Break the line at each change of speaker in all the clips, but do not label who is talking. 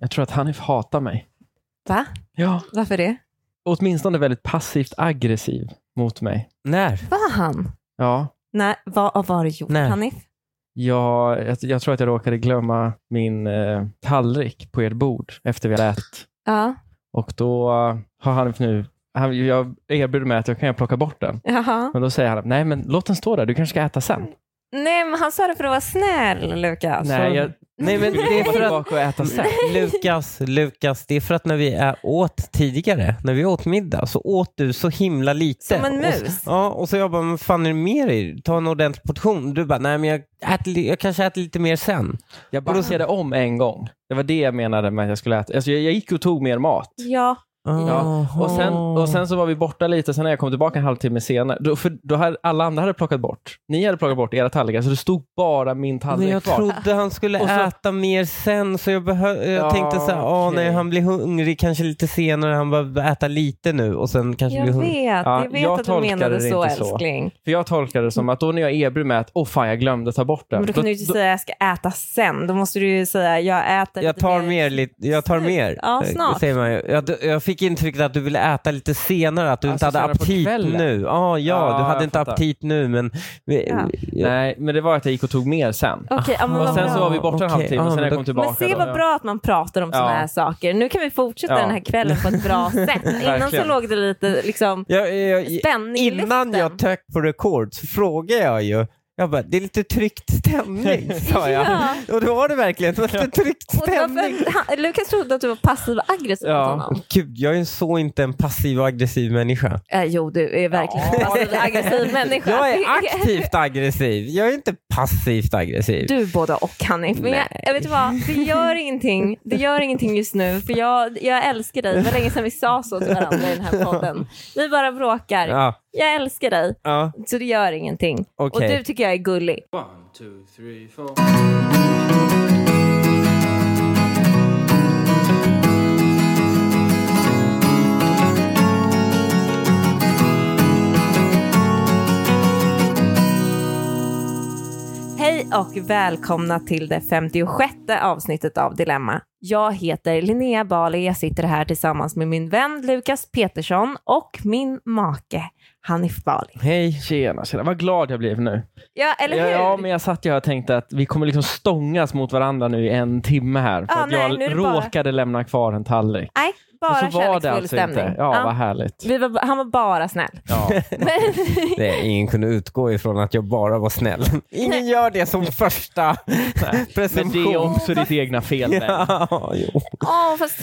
Jag tror att Hanif hatar mig.
Va?
Ja.
Varför det?
Åtminstone väldigt passivt aggressiv mot mig.
När?
Var han?
Ja,
Nej, vad vad har du gjort
Nej.
Hanif?
jag, jag, jag tror att jag råkade glömma min eh, tallrik på ert bord efter vi hade ätit.
Ja.
Och då har Hanif nu, han, jag erbjuder mig att jag kan plocka bort den.
Jaha.
Men då säger han, nej men låt den stå där, du kanske ska äta sen.
Nej, men han sa det för att vara snäll, Lukas.
Nej, jag,
Alltså, Nej, men det är
Gå
för att
tillbaka och äta sen.
Lukas, Lukas, det är för att när vi ä- åt tidigare, när vi åt middag, så åt du så himla lite.
Som en mus.
Och, s- ja, och så jag bara, vad fan är det med dig? Ta en ordentlig portion. Du bara, nej men jag, äter, li- jag kanske äter lite mer sen.
Jag backade om en gång. Det var det jag menade med att jag skulle äta. Alltså jag, jag gick och tog mer mat.
Ja.
Ja, och, sen,
Aha.
och sen så var vi borta lite, sen när jag kom tillbaka en halvtimme senare, då, för då hade alla andra hade plockat bort. Ni hade plockat bort era tallrikar, så det stod bara min
men
tallrik
jag
kvar.
trodde han skulle
Och så-
äta mer sen så jag, behö- jag
Ja,
tänkte så här, ah,
okej.
nej, han blir hungrig kanske lite senare, han behöver äta lite nu och sen kanske blir
Jag
hungrig.
vet,
Ja,
jag vet
jag
att du
tolkade
menade
det
så,
inte så.
älskling.
För jag tolkade det som att då när jag erbjöd mig att åh fan, jag glömde ta bort den.
Men då kan du ju inte säga jag ska äta sen. Då måste du ju säga jag äter
Jag
lite
tar mer, lite, jag tar mer.
Ja,
eh,
snart.
Säger man ju. Jag, jag fick intrycket att du ville äta lite senare, att du
Alltså,
inte hade
senare på
aptit
kvällen.
nu. Ah, ja,
Ja,
du
jag
hade inte
fattar.
aptit nu men...
Ja.
Nej, men det var att jag gick och tog mer sen.
Okej, ja, men
Aha.
Ah, Och
vad
sen så
bra.
var vi borta en
Okej,
halvtimme, och
ja,
sen när jag
men
kom
då-
tillbaka.
Men se
då-
vad bra att man pratar om sådana
Ja.
här saker. Nu kan vi fortsätta
Ja.
den här kvällen på ett bra sätt. Innan så
Verkligen.
låg det lite liksom,
Jag, jag, jag,
spänning i
innan jag
luften.
tök på rekord så frågade jag ju, jag bara, det är lite tryckt stämning, sa jag.
Ja.
Och då var det verkligen lite tryckt
Och det var
stämning.
för, han, Lukas trodde att du var passiv och aggressiv
Ja.
mot honom.
Gud, jag är så inte en passiv och aggressiv människa.
Eh, jo, du är verkligen en passiv och aggressiv människa.
Jag
Det
är aktivt aggressiv, jag är inte passivt aggressiv.
Du både och Hanif. Men jag, jag vet du vad, det gör ingenting. Det gör ingenting just nu för jag, jag älskar dig. Det var länge sedan vi sa så till varandra i den här podden. Vi bara bråkar.
Ja,
Jag älskar dig
ja,
så det gör ingenting. Och
okej.
du tycker jag är gullig.
One, two, three, four.
Hej och välkomna till det 56 avsnittet av Dilemma. Jag heter Linnea Bali. Jag sitter här tillsammans med min vän Lukas Petersson och min make Hanif Bali.
Hej. Tjena, tjena. Vad glad jag blev nu.
Ja, eller hur?
Ja, men jag satt ju här och tänkte att vi kommer liksom stångas mot varandra nu i en timme här. För
Ja,
att
nej, nu är
jag
det bara-
råkade lämna kvar en tallrik.
Nej,
Men
bara
så var det
kärleksfull
alltså
stämning.
inte. Ja,
Ja.
vad härligt.
Vi var, han var bara snäll.
Ja.
Men,
Nej, ingen kunde utgå ifrån att jag bara var snäll. Ingen gör det som första
Men det är
presentation.
också ditt egna fel. Ben.
Ja, jo.
ja, fast,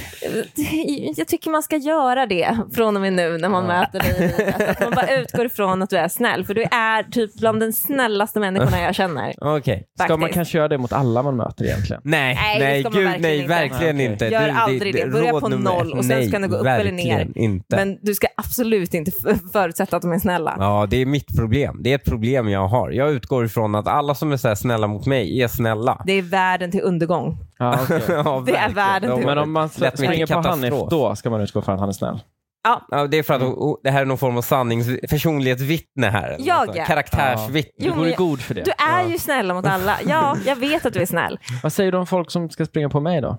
eh, jag tycker man ska göra det från och med nu när man möter dig. i livet. Att man bara utgår ifrån att du är snäll. För du är typ bland den snällaste människorna jag känner.
Okej.
Ska man
faktiskt.
kanske göra det mot alla man möter egentligen?
Nej,
Nej, det
nej,
ska man
gud,
verkligen
nej,
inte.
verkligen
Nej,
inte.
okej.
Gör
Du-
aldrig det. Börja
råd
på
nummer
noll
ett.
och sen
Nej,
ska ni gå upp eller
verkligen
ner.
Inte.
Men du ska absolut inte f- förutsätta att de är snälla.
Ja, det är mitt problem. Det är ett problem jag har. Jag utgår ifrån att alla som är så här snälla mot mig är snälla.
Det är världen till undergång.
Ja, okej.
Ja,
Det är
verkligen.
världen
De-
till-
Men om man
Lätt mycket
springer på
katastrof.
Hanif, då ska man utgå från att han är snäll.
Ja,
Ja, det är för att
Mm.
oh, det här är någon form av sannings... personlighetsvittne här. eller
Jag är.
något sånt. Karaktärsvittne.
Jo,
du går i
men-
god för det.
du är ju snäll mot alla. Ja, jag vet att du är snäll.
Vad säger du om folk som ska springa på mig då?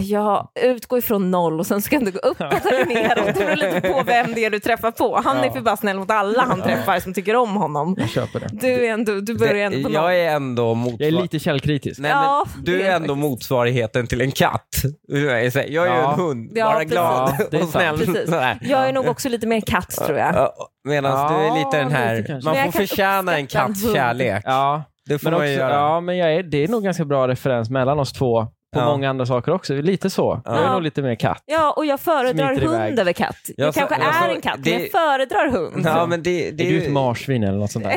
Ja, utgå Ah, ifrån noll och sen ska du gå upp och ta dig neråt. Det beror lite på vem det är du träffar på. Han är för bara snäll mot alla han träffar som tycker om honom.
Jag köper det.
Du, är ändå, du börjar ändå på noll.
jag är ändå motsvar...
Jag är lite källkritisk.
Nej,
Ja,
men
det
du
är
är
jag
ändå motsvarigheten till en katt. Jag är så här, jag är ju
Ja.
en hund,
Ja,
bara
precis.
glad
Ja, det är
och snäll.
Precis.
sådär.
Jag är nog också lite mer katt tror jag.
Medan
Ja,
du är lite den
lite
här,
kanske.
Men
man får
jag kan
förtjäna en
uppskatta en
katts
hund.
kärlek.
Ja,
Det får
men
man
också,
ju göra.
ja, men jag är, det är nog ganska bra referens mellan oss två på
Ja.
många andra saker också. Lite så. Jag är
Ja.
nog lite mer katt.
Ja, och jag föredrar
Smiter iväg.
hund över katt. Jag,
Jag sa-
kanske
jag sa-
är en katt,
det-
men jag föredrar hund.
Ja, men det, det
är du ett
ju-
marsvin eller något sånt där?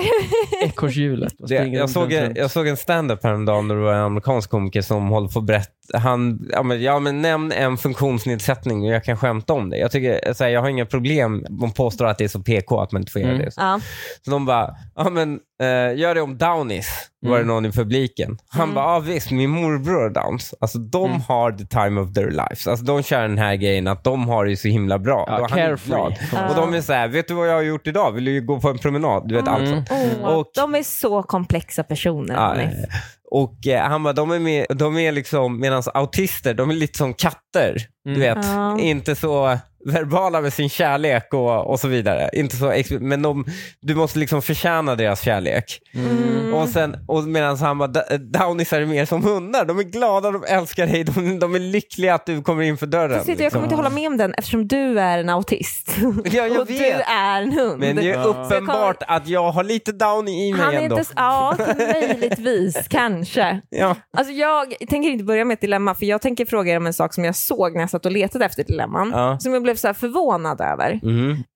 Ekorrhjulet. Vad
Det,
springer
jag,
runt,
såg
runt,
en,
runt?
jag såg en stand-up häromdagen där det var en amerikansk komiker som håller på att berätta. Han, ja men, ja men nämn en funktionsnedsättning och jag kan skämta om det. Jag, tycker, så här, jag har inga problem, de påstår att det är så PK att man inte får göra
Mm.
det. Så,
Ja.
så de bara, ja men eh, gör det om downies, var det
Mm.
någon i publiken. Han
Mm.
bara, ja visst, min morbror har downs. Alltså de
Mm.
har the time of their lives. Alltså de kör den här grejen att de har det ju så himla bra.
Ja,
Då är han
carefree.
glad.
Ja.
Och de är så här, vet du vad jag har gjort idag? Vill du gå på en promenad? Du vet, allt sånt.
Mm.
Åh,
Och-
de är så komplexa personer.
Ja,
Hanif.
eh, Och eh, han bara, de är, med, de är liksom, medan autister, de är lite som katter.
Mm.
Du vet,
Ja.
inte så verbala med sin kärlek och, och så vidare. Inte så, ex- men de, du måste liksom förtjäna deras kärlek.
Mm.
Och sen, och medan han bara, "Da- downisar är mer som hundar. De är glada, de älskar dig, de, de är lyckliga att du kommer in för dörren. liksom."
Precis, jag kommer inte hålla med om den eftersom du är en autist.
Ja, jag
och du
vet.
är en hund.
Men det är
Ja.
uppenbart att jag har lite downy i mig
han är
ändå.
inte... s- Ja, möjligtvis, kanske.
Ja.
Alltså jag tänker inte börja med ett dilemma, för jag tänker fråga er om en sak som jag såg när jag satt och letade efter dilemman,
Ja.
som jag blev så här förvånad över.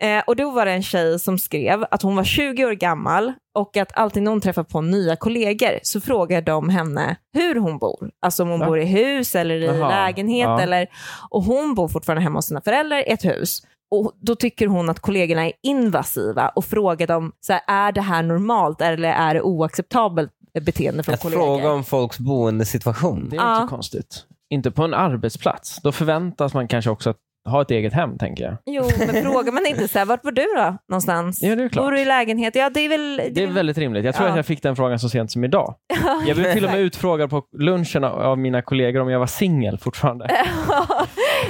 Eh, och då var det en tjej som skrev att hon var 20 år gammal och att alltid när hon träffar på nya kollegor så frågar de henne hur hon bor. Alltså om hon
Va?
bor i hus eller i
Jaha,
lägenhet.
ja.
Eller, och hon bor fortfarande hemma hos sina föräldrar i ett hus. Och Då tycker hon att kollegorna är invasiva och frågar dem, så här, är det här normalt eller är det oacceptabelt beteende från
Att
kollegor?
fråga om folks boendesituation.
Det är
Ja.
inte konstigt. Inte på en arbetsplats. Då förväntas man kanske också att ha ett eget hem, tänker jag.
Jo, men frågar man inte så här, vart bor du då någonstans?
Ja, det är klart.
Bor du i lägenhet? Ja, det är väl...
Det är väldigt rimligt. Jag tror
Ja.
att jag fick den frågan så sent som idag. Jag blev till och med utfrågad på lunchen av- av mina kollegor om jag var singel fortfarande.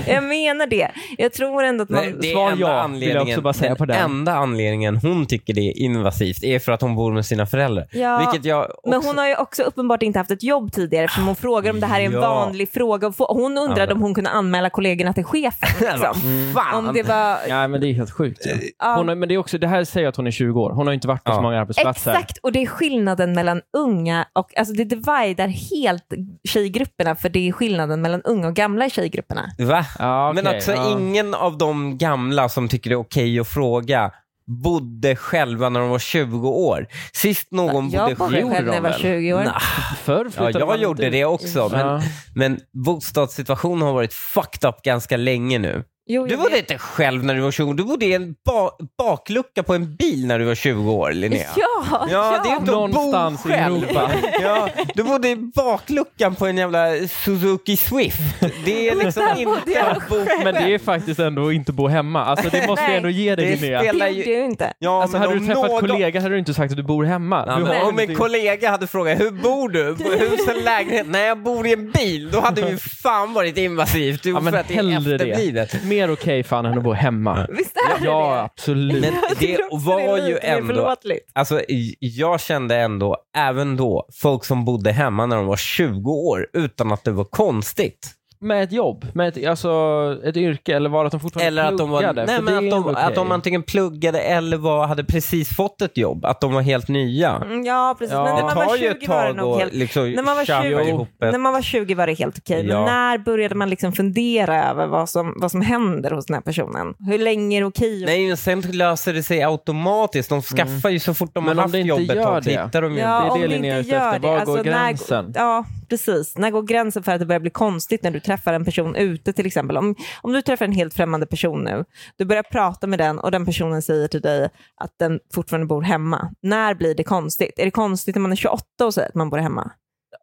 jag menar det. Jag tror ändå att man...
Nej, det
Svar
enda
ja, vill jag
anledningen,
också bara säga
den
på den.
enda anledningen hon tycker det är invasivt är för att hon bor med sina föräldrar.
Ja,
Vilket jag
Men
också-
hon har ju också uppenbart inte haft ett jobb tidigare eftersom hon frågar om det här är en
Ja.
vanlig fråga. Och få- Hon undrade
men-
om hon kunde anmäla kollegorna till chefen. Liksom.
Fan!
Om det var...
Ja, men det är helt sjukt. ju.
Ja.
Hon har, men det, är också, det här säger att hon är 20 år. Hon har inte varit på
Ja.
så många arbetsplatser.
Exakt, och det är skillnaden mellan unga och... Alltså det dividar helt tjejgrupperna för det är skillnaden mellan unga och gamla i tjejgrupperna.
Va?
Ja, okej,
Men också
ja.
ingen av de gamla som tycker det är okej att fråga bodde själva när de var 20 år. Sist någon
jag
bodde
bodde själv
gjorde
när jag
de
var
väl?
20 år.
Nah.
Förr
Ja,
flyttade man
jag
inte
gjorde
ut.
det också. Men,
Ja.
men bostadssituationen har varit fucked up ganska länge nu.
Jo, jag
Du
vet.
bodde inte själv när du var 20 år. Du bodde i en ba- baklucka på en bil när du var 20 år, Linnea.
Ja,
Ja, det är inte
Någonstans
att
i
bo själv.
Europa.
Ja, du bodde i bakluckan på en jävla Suzuki Swift. Det är liksom inte att bo
Men det är faktiskt ändå inte bo hemma. Alltså, det måste jag ändå ge dig
Det
Linnea.
det
spelar
gjorde
ju...
jag inte.
Ja,
Alltså,
men
hade
om
du träffat
någon-
kollega hade du inte sagt att du bor hemma.
Ja,
du
men
har
om en
inte-
kollega hade frågat hur bor du? På Hus eller lägenhet? Nej, jag bor i en bil. Då hade det ju fan varit invasivt. Jo,
ja, men
för att det är
hellre
efterblivet.
det. Mer okej fan än att bo hemma.
Visst är det
Ja,
det?
absolut.
Men det var ju ändå...
förlåtligt.
Alltså, i- jag kände ändå, även då, folk som bodde hemma när de var 20 år utan att det var konstigt.
med ett jobb, med ett, alltså, ett yrke eller var att de fortfarande
Eller att de var...
pluggade,
Nej,
för
men
det
att
är
de,
ändå
att de
okej.
antingen pluggade eller var, hade precis fått ett jobb. Att de var helt nya.
Mm, Ja, precis.
Ja.
Men när
Det
man var
tar ju
20
ett
var det
tag
nog
att
helt...
liksom
När man var
tjaffa
20
ihop ett
När man var 20 var det helt okej, men
Ja.
när började man liksom fundera över vad som, vad som händer hos den här personen? Hur länge är det okej?
Nej, men sen löser det sig automatiskt. De skaffar ju så fort de
Mm. Men om
har haft
det inte
jobbet.
gör
då
det-
tittar de ju
det är
om
det
vi
Linnea är
inte
ute efter.
gör det, alltså,
Var går
när-
gränsen?
ja, precis. När går gränsen för att det börjar bli konstigt när du träffar en person ute till exempel? Om, om du träffar en helt främmande person nu, du börjar prata med den och den personen säger till dig att den fortfarande bor hemma. När blir det konstigt? Är det konstigt när man är 28 och säger att man bor hemma?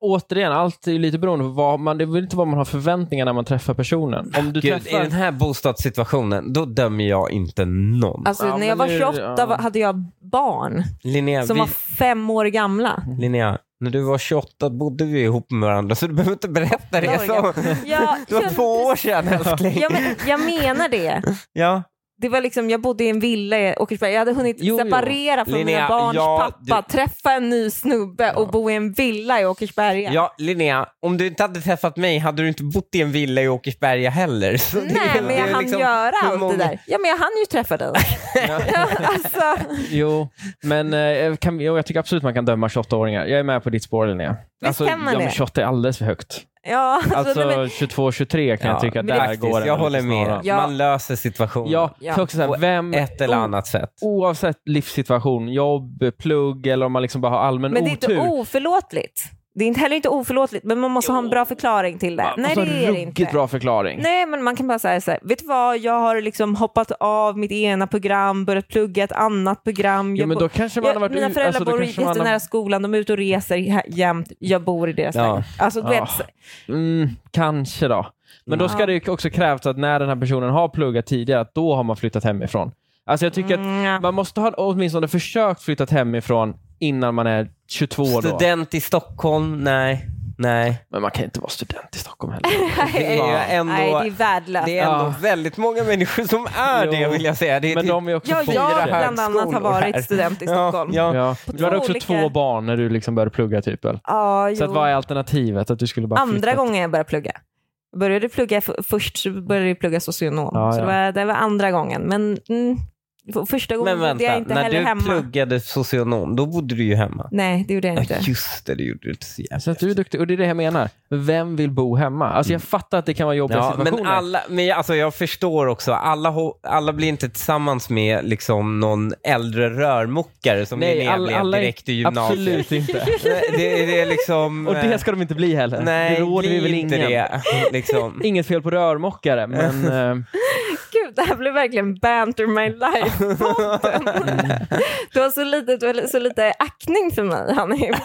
Återigen, allt är ju lite beroende på vad man... Det är väl inte vad man har förväntningar när man träffar personen. Om du
Gud, i
träffar...
den här bostadssituationen, då dömer jag inte någon.
Alltså
Ja,
när
men
jag var
nu-
28
ja.
var- hade jag barn
Linnea,
som
vi,
var fem år gamla.
Linnea, när du var 28 bodde vi ihop med varandra, så du behöver inte berätta det. Så.
Ja,
Det var
jag-
två år sedan, älskling.
Ja, men, jag menar det.
Ja.
Det var liksom, jag bodde i en villa i Åkersberga. Jag hade hunnit
Jo, jo.
separera från mina
Linnea,
barns
ja,
pappa, träffa en ny snubbe och bo i en villa i Åkersberga.
ja, Linnea, om du inte hade träffat mig hade du inte bott i en villa i Åkersberga heller. Så det-
Nej, men
det
jag
är
hann
liksom
göra
hur
allt
många-
det där. Ja, men jag hann ju träffa dig. ja, alltså,
Jo, men eh, kan, jo, jag tycker absolut man kan döma 28-åringar. Jag är med på ditt spår Linnea. Alltså,
kan man
ja, men
det?
28 är alldeles för högt.
ja, alltså,
Alltså
nej, men,
22, 23 kan jag
Ja,
tycka, där
faktiskt,
går det
Jag
lite
håller med.
snarare.
Ja.
Man löser situationen
Ja,
Ja.
så också så
på
här, vem,
ett eller annat sätt.
oavsett livssituation, jobb, plugg eller om man liksom bara har allmän
men det är
otur.
inte oförlåtligt. Det är inte heller inte oförlåtligt, men man måste ha en bra förklaring till det. Nej,
alltså,
det är det
ruggigt
inte.
bra förklaring.
Nej, men man kan bara säga så här, vet du vad, jag har liksom hoppat av mitt ena program, börjat plugga ett annat program.
Jo,
Jag
men
bo-
då kanske man
Ja,
har varit...
mina
ut-
föräldrar
alltså, då
bor
kanske man har-
jättenära skolan, de är ute och reser hä- jämt, jag bor i deras
Ja.
lägenhet. Alltså, du
Ja.
vet, så-
Mm, kanske då. Men då ska det ju också krävas att när den här personen har pluggat tidigare, att då har man flyttat hemifrån. Alltså jag tycker
Mm, ja.
att man måste ha åtminstone försökt flyttat hemifrån innan man är 22 då.
Student i Stockholm? Nej. Nej.
Men man kan inte vara student i Stockholm heller.
Det är ju ändå-
Nej, det är värdelöst.
Det är ändå
Ja.
väldigt många människor som är
Jo.
det vill jag säga. Det är
Men
typ
de är också
Ja,
folk
jag
där.
bland annat har
högskolor
varit
här.
student i Stockholm.
Ja, ja.
Ja. Du hade
två
också
olika-
två barn när du liksom började plugga typ väl?
Ja, jo.
Så att vad är alternativet? Att du skulle bara
andra
flytta?
gången jag började plugga. Började plugga f- först så började jag plugga socionom.
Ja,
Så
ja.
det var, det var andra gången. Men mm, f- första gången
Men
bodde
vänta,
jag inte
när
heller
du
hemma.
pluggade socionom, då bodde du ju hemma.
Nej, det gjorde jag
Ja,
inte.
just det, det gjorde du inte så jävla
Så att du är duktig. Och det är det jag menar. Vem vill bo hemma? Alltså jag fattar att det kan vara jobbiga
Ja,
situationer.
men alla, men jag, alltså jag förstår också, alla, ho- alla blir inte tillsammans med liksom någon äldre rörmokare som
Nej,
Linnea
all-
blev
alla är-
direkt i gymnasiet.
Absolut inte.
Nej, Det, det är liksom...
Och det ska de inte bli heller.
nej,
det råder vi
bli
väl
inte
ingen.
det. Liksom.
Inget fel på rörmokare, men eh,
Gud, det här blev verkligen banter my life podden. Du har så lite, du har så lite aktning för mig, Hanif.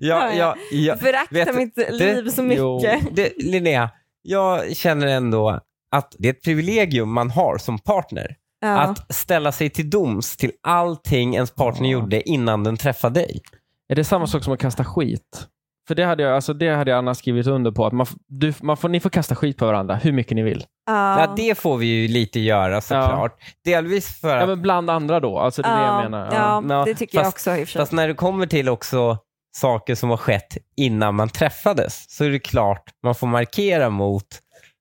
Ja, ja, ja.
Du föraktar
Vet-
mitt liv så
jo.
mycket.
Det, Linnea, jag känner ändå att det är ett privilegium man har som partner.
Ja.
Att ställa sig till doms till allting ens partner
Ja.
gjorde innan den träffade dig.
är det samma sak som att kasta skit? För det hade jag, alltså det hade jag annars skrivit under på. Att man, f- du, man får, ni får kasta skit på varandra hur mycket ni vill.
Ja.
Ja, det får vi ju lite göra såklart. Delvis för
Ja,
att
men bland andra då. Alltså det är det jag menar.
Ja,
Ja,
det tycker jag
fast-
också i och för sig.
Fast när det kommer till också saker som har skett innan man träffades så är det klart man får markera mot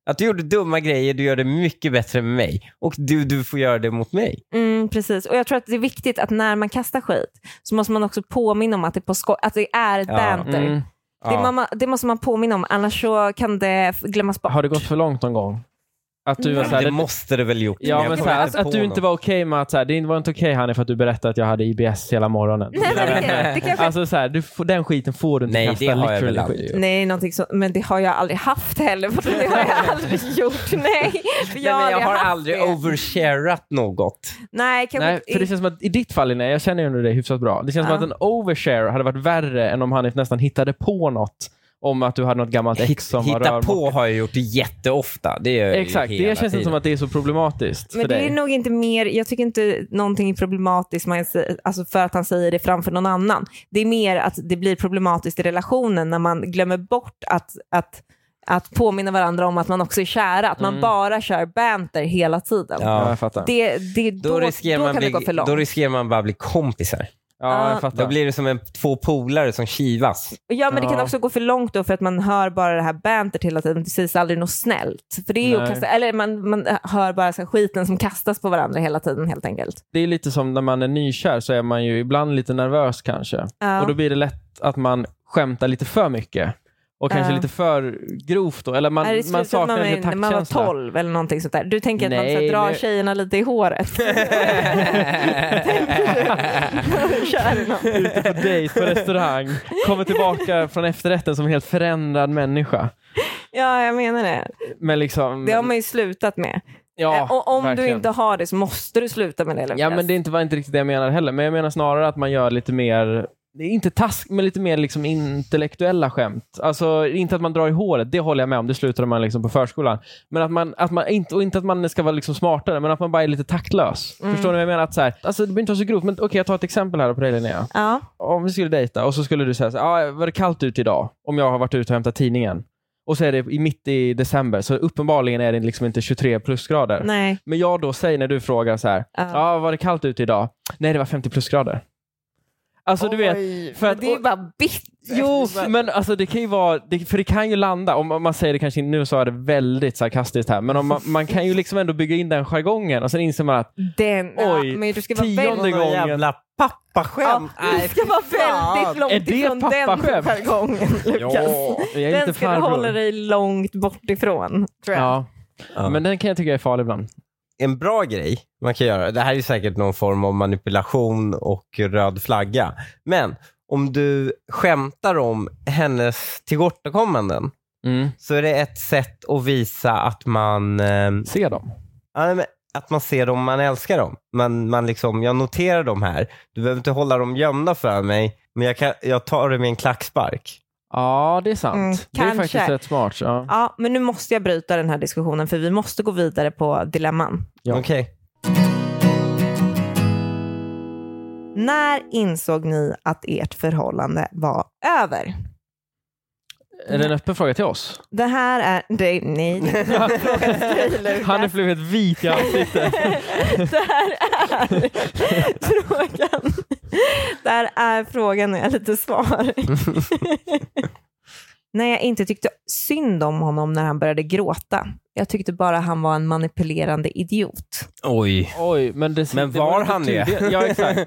att du gjorde dumma grejer, du gör det mycket bättre med mig och du, du får göra det mot mig.
Mm, precis. Och jag tror att det är viktigt att när man kastar skit så måste man också påminna om att det är, på sko- att det är ett
Ja.
banter.
Mm.
Det,
Ja.
man, ma- det måste man påminna om, annars så kan det f- glömmas bort.
Har det gått för långt någon gång? Att
Mm.
du var
Men
så här,
det måste det väl gjort.
Ja,
jag
men så
kommer
här, att,
inte
att
på
du inte
något.
var okej med att så här, det var inte okej Hanif för att du berättade att jag hade IBS hela morgonen.
Nej, men det, det kanske...
Alltså så här, du, får- den skiten får du inte
Nej,
kasta.
det har jag
literally
väl aldrig
skit.
gjort.
Nej, någonting så, men det har jag aldrig haft heller. För det har jag aldrig gjort. Nej, för
Nej,
jag,
men jag har
haft
aldrig
det.
oversharat något.
Nej, kanske
Nej, för det känns som att i ditt fall Linnea, jag känner ju ändå dig hyfsat bra. Det känns
Ja.
som att en overshare hade varit värre än om Hanif nästan hittade på något om att du hade något gammalt ex som var
Hitta
rörmokare.
på har jag gjort jätteofta. Det gör jag ju
Exakt, det
hela
känns inte
tiden.
som att det är så problematiskt
Men
för
det är
dig.
nog inte mer, jag tycker inte någonting är problematiskt man säger, alltså för att han säger det framför någon annan. Det är mer att det blir problematiskt i relationen när man glömmer bort att, att, att påminna varandra om att man också är kära, att man bara kör banter hela tiden.
Ja,
Ja.
jag fattar.
Det, det, då,
Då,
då,
riskerar man
kan det
bli,
gå för långt.
då riskerar man bara bli kompisar.
Ja, jag
Ah.
fattar.
Då blir det som en, två polare som kivas.
Ja, men det kan
Ja.
också gå för långt då för att man hör bara det här bantet hela tiden. Det sägs aldrig något snällt. För det är ju att
Nej.
kasta, eller man, man hör bara så här skiten som kastas på varandra hela tiden helt enkelt.
det är lite som när man är nykär så är man ju ibland lite nervös kanske.
Ja.
Och då blir det lätt att man skämtar lite för mycket. Och kanske
Ja.
lite för grovt då. Eller man,
är det
man
slutet
saknar
man,
lite
när man var
taktkänsla.
12 eller någonting sånt där? Du tänker att man så
Nej,
här, drar
men-
tjejerna lite i håret? Kör i någon.
Ute på dejt på restaurang. Kommer tillbaka från efterrätten som en helt förändrad människa.
ja, jag menar det.
Men liksom...
Det har man ju slutat med.
ja,
Eh, och om du
verkligen.
inte har det så måste du sluta med det. Lukas.
Ja, men det är inte- var inte riktigt det jag menar heller. Men jag menar snarare att man gör lite mer... det är Inte task, men lite mer liksom intellektuella skämt. Alltså, inte att man drar i håret, det håller jag med om. Det slutade man liksom på förskolan. Men att man, att man inte, och inte att man ska vara liksom smartare, men att man bara är lite taktlös.
Mm.
Förstår ni vad jag menar? Att så här, alltså, det behöver inte vara så grovt, men okej, jag tar ett exempel här på dig Linnea.
Ja.
Om vi skulle dejta och så skulle du säga så här, ah, var det kallt ute idag? Om jag har varit ute och hämtat tidningen. Och så är det i mitt i december, så uppenbarligen är det liksom inte 23 plusgrader.
Nej.
Men jag då säger när du frågar så här,
Ja.
ja var det kallt ute idag? Nej det var 50 plusgrader. Alltså du vet, för
Men
att,
det är ju
och,
bara bitt.
jo men alltså det kan ju vara, det, för det kan ju landa, om om man säger det kanske, nu sa jag det väldigt sarkastiskt här, men om man, man kan ju liksom ändå bygga in den jargongen och sen inser man att
Den,
Oj,
ja, men du ska vara
tionde
väldigt,
gången.
pappaskämt.
ja, du ska vara väldigt långt
Är det
ifrån den
pappaskämt?
jargongen, Lukas.
jag är
Den
lite
ska du
farbror.
hålla dig långt bort ifrån. Tror jag.
Ja. men den kan jag tycka är farlig ibland.
En bra grej man kan göra, det här är säkert någon form av manipulation och röd flagga, men om du skämtar om hennes tillkortakommanden
Mm.
så är det ett sätt att visa att man, eh,
Se dem.
ja, nej, men att man ser dem, man älskar dem. Man, man liksom, jag noterar dem här, du behöver inte hålla dem gömda för mig, men jag, kan, jag tar det med en klackspark.
Ja, det är sant.
Mm,
det är
kanske.
faktiskt rätt smart. Ja.
Ja, men nu måste jag bryta den här diskussionen för vi måste gå vidare på dilemman.
Ja.
Okej.
När insåg ni att ert förhållande var över?
Är det en öppen fråga till oss?
Det här är... Det, nej.
Han har blivit vit i ansiktet.
Där är frågan. Där är frågan och jag är lite svar. När jag inte tyckte synd om honom när han började gråta. Jag tyckte bara han var en manipulerande idiot.
Oj.
Oj, men, det,
Men
det
var
inte
han det?
tydligt. Ja, exakt.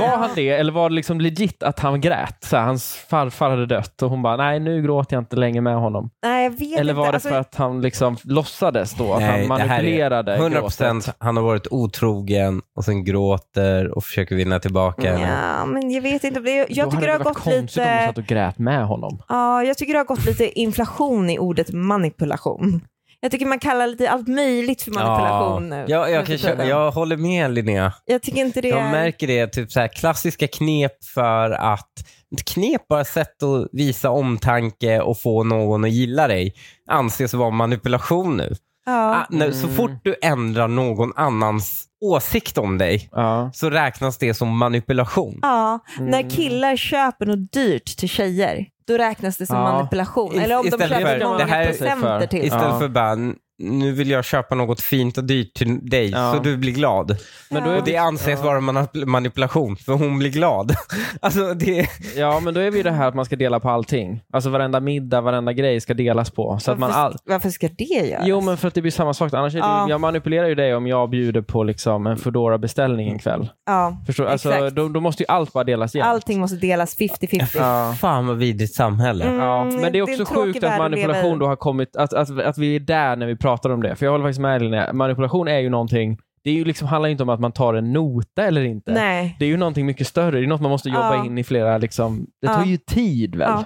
Var han det eller var det liksom legit att han grät? Så här, hans farfar hade dött och hon bara, nej nu gråter jag inte längre med honom.
Nej, jag vet
Eller
inte.
var det
Alltså,
för att han liksom låtsades då? Att han
Nej, det här är
manipulerade
100
gråtet?
han har varit otrogen och sen gråter och försöker vinna tillbaka henne.
Ja, men jag vet inte. Det- Jag
Då
tycker
hade
det har
det varit
gått
konstigt om hon
lite...
satt och grät med honom.
Ja, jag tycker det har gått lite inflation i ordet manipulation. Jag tycker man kallar lite allt möjligt för manipulation nu.
Ja,
nu
jag,
för
kan, kö-
tiden.
jag håller med Linnea.
jag tycker inte det
Jag
är...
märker det, typ så här, klassiska knep för att ett knep bara sätt att visa omtanke och få någon att gilla dig anses vara manipulation nu. Ah,
ja.
när, så
Mm.
fort du ändrar någon annans åsikt om dig
Ja.
så räknas det som manipulation.
Ja,
Mm.
när killar köper något dyrt till tjejer, då räknas det som
Ja.
manipulation.
Ist-
Eller om de
istället
köper
för-
många
det här-
presenter till.
Istället
Ja.
för bara, "N- nu vill jag köpa något fint och dyrt till dig
Ja.
så du blir glad.
Men då är
Ja.
Och det anses vara manip- manipulation för hon blir glad. alltså det,
Ja, men då är vi ju det här att man ska dela på allting. Alltså varenda middag, varenda grej ska delas på. Så att man all...
varför, varför ska det göras?
Jo, men för att det blir samma sak. Annars är det,
Ja.
Jag manipulerar ju dig om jag bjuder på liksom en fedora beställning
Mm.
en kväll.
ja.
Förstår? Alltså,
Exakt.
då, då måste ju allt bara delas igen.
Allting måste delas 50-50.
Ja.
fan vad vidrigt samhälle.
Mm.
Ja, men det är
en
också
tråkig
sjukt att
värld vi lever i.
manipulation då har kommit, att, att, att vi är där när vi pratar om det. För jag håller faktiskt med Linnea, manipulation är ju någonting, det är ju liksom, handlar ju inte om att man tar en nota eller inte.
Nej.
Det är ju någonting mycket större, det är något man måste jobba
Ja.
in i flera, liksom, det tar
Ja.
ju tid väl?
Ja.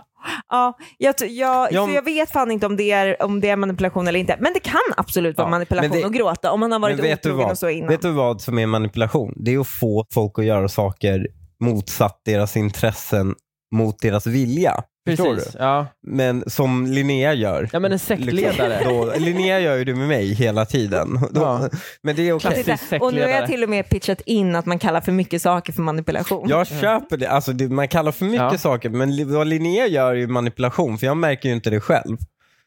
Ja, jag, t- jag,
Ja,
så
men-
jag vet fan inte om det, är, om det är manipulation eller inte. Men det kan absolut vara
Ja,
manipulation
men det-
att gråta om man har varit
Men vet du
otrogen
vad?
och så innan.
Vet du vad som är manipulation? Det är att få folk att göra saker motsatt deras intressen mot deras vilja. Förstår du?
Precis. Ja.
Men som Linnea gör.
ja, men en sektledare.
Liksom, då, Linnea gör ju det med mig hela tiden. Då,
Ja.
Men det är okej.
Klassiskt.
Titta, och nu har
sektledare.
jag till och med pitchat in att man kallar för mycket saker för manipulation.
Jag köper det. Alltså, det. Man kallar för mycket
Ja.
saker, men li- vad Linnea gör är ju manipulation, för jag märker ju inte det själv.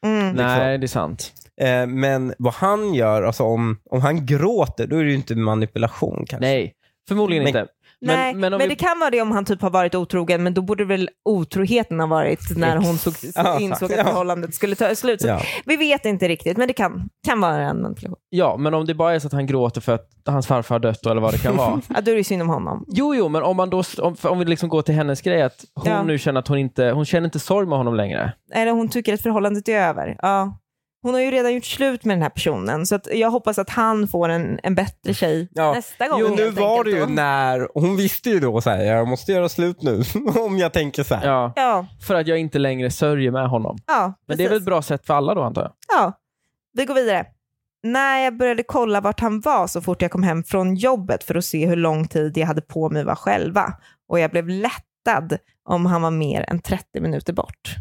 Mm.
Nej, det är sant.
Eh, men vad han gör, alltså om, om han gråter, då är det ju inte manipulation kanske.
Nej, förmodligen
Men-
inte.
Nej, men,
om vi-
det kan vara det om han typ har varit otrogen, men då borde väl otroheten ha varit när hon såg,
Ja,
insåg att
ja.
förhållandet skulle ta slut. Så
Ja.
Vi vet inte riktigt, men det kan, kan vara en manipulation.
Ja, men om det bara är så att han gråter för att hans farfar har dött då, eller vad det kan vara.
Ja, då är det ju synd om honom.
Jo, jo, men om, man då, om, för om vi liksom går till hennes grej, att hon
Ja.
nu känner att hon inte, hon känner inte sorg med honom längre.
Eller hon tycker att förhållandet är över. Ja. Hon har ju redan gjort slut med den här personen, så att jag hoppas att han får en, en bättre tjej
Ja.
nästa gång.
Jo, nu
helt
var det
enkelt
ju
då.
när, hon visste ju då så här, jag måste göra slut nu om jag tänker så här.
Ja,
Ja,
för att jag inte längre sörjer med honom.
ja,
Men det är väl ett bra sätt för alla då, antar jag?
Ja, vi går vidare. När jag började kolla vart han var så fort jag kom hem från jobbet för att se hur lång tid jag hade på mig att vara själva. Och jag blev lättad om han var mer än 30 minuter bort.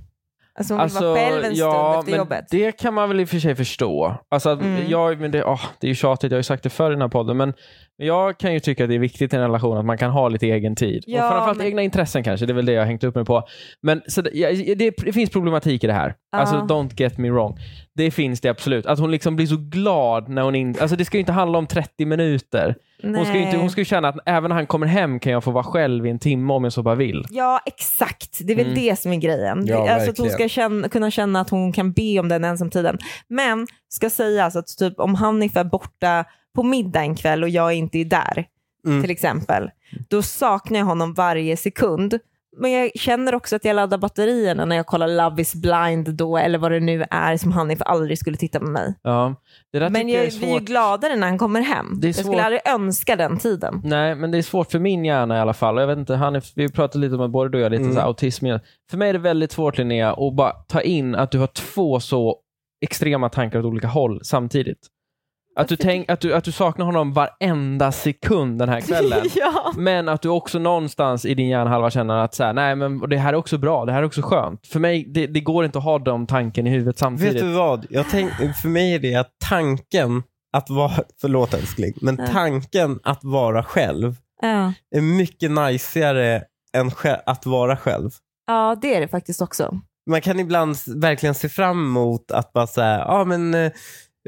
Alltså hon vill vara själv en stund efter
men
jobbet.
Det kan man väl i och för sig förstå. Alltså, att
Mm.
jag, men det, åh, det är ju tjatigt, jag har ju sagt det förr i den här podden, men jag kan ju tycka att det är viktigt i en relation att man kan ha lite egen tid.
Ja,
och framförallt
men-
egna intressen kanske, det är väl det jag har hängt upp mig på. Men så det, ja, det, det finns problematik i det här.
Ja.
Alltså, don't get me wrong. Det finns det absolut. Att hon liksom blir så glad när hon inte... Alltså det ska ju inte handla om 30 minuter. Hon ska, ju inte,
Nej.
hon ska ju känna att även när han kommer hem kan jag få vara själv i en timme om jag så bara vill.
Ja, exakt. Det är väl
Mm.
det som är grejen.
Ja,
alltså att hon ska
verkligen.
känna, kunna känna att hon kan be om den ensamtiden. Men ska sägas att typ, om Hanif är borta på middag en kväll och jag inte är där,
Mm.
till exempel, då saknar jag honom varje sekund. Men jag känner också att jag laddar batterierna när jag kollar Love is blind då, eller vad det nu är som Hanif aldrig skulle titta på mig.
Ja. Det där
Men
tycker jag,
jag,
är
vi är ju
svårt.
gladare när han kommer hem.
Det är
jag
svårt.
skulle aldrig önska den tiden.
Nej, men det är svårt för min hjärna i alla fall. Och Jag vet inte, han är, vi pratade lite om att både du och jag har lite
Mm.
så här autism. igen. För mig är det väldigt svårt Linnea att bara ta in att du har två så extrema tankar åt olika håll samtidigt. Att
Alltså,
du, tänk, att, du, att du saknar honom varenda sekund den här kvällen.
ja.
Men att du också någonstans i din hjärnhalva känner att så här, nej men det här är också bra, det här är också skönt. För mig, det, det går inte att ha den tanken i huvudet samtidigt.
Vet du vad? Jag tänk, för mig är det att tanken att vara, förlåt älskling, men tanken att vara själv
Ja.
är mycket najsigare än sj- att vara själv.
ja, det är det faktiskt också.
Man kan ibland s- verkligen se fram emot att bara säga, ja ah, men eh,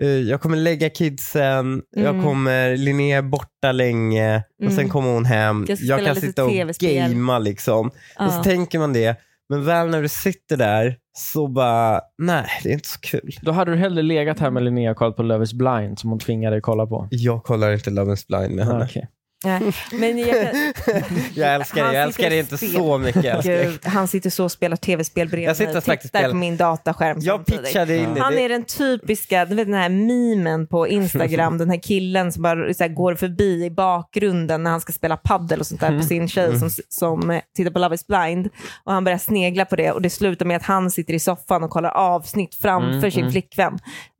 eh, jag kommer lägga kidsen, jag
Mm.
kommer, Linnea är borta länge och sen
Mm.
kommer hon hem.
Jag
Jag,
ska spela
kan
lite
sitta och
TV-spel.
gamea liksom. Och så
Ja.
tänker man det, men väl när du sitter där så bara, nej det är inte så kul.
Då hade du hellre legat här med Linnea och kollat på Love is blind som hon tvingade dig kolla på.
Jag kollar inte Love is blind med henne.
Okej.
Nej, Men jag kan...
jag älskar det, jag
Han
älskar det
sitter
inte
och
så mycket. Jag, älskar det.
Gud, han sitter så och spelar tv-spel bredvid
Jag sitter
mig
och faktiskt
tittar
spelar-
på min dataskärm.
jag
samtidigt.
pitchade in det.
Han
det.
är den typiska, du vet den här mimen på Instagram, den här killen som bara så här, går förbi i bakgrunden när han ska spela paddel och sånt där på sin tjej som, som eh, tittar på Love is blind. Och han börjar snegla på det och det slutar med att han sitter i soffan och kollar avsnitt framför
Mm,
sin
mm.
flickvän.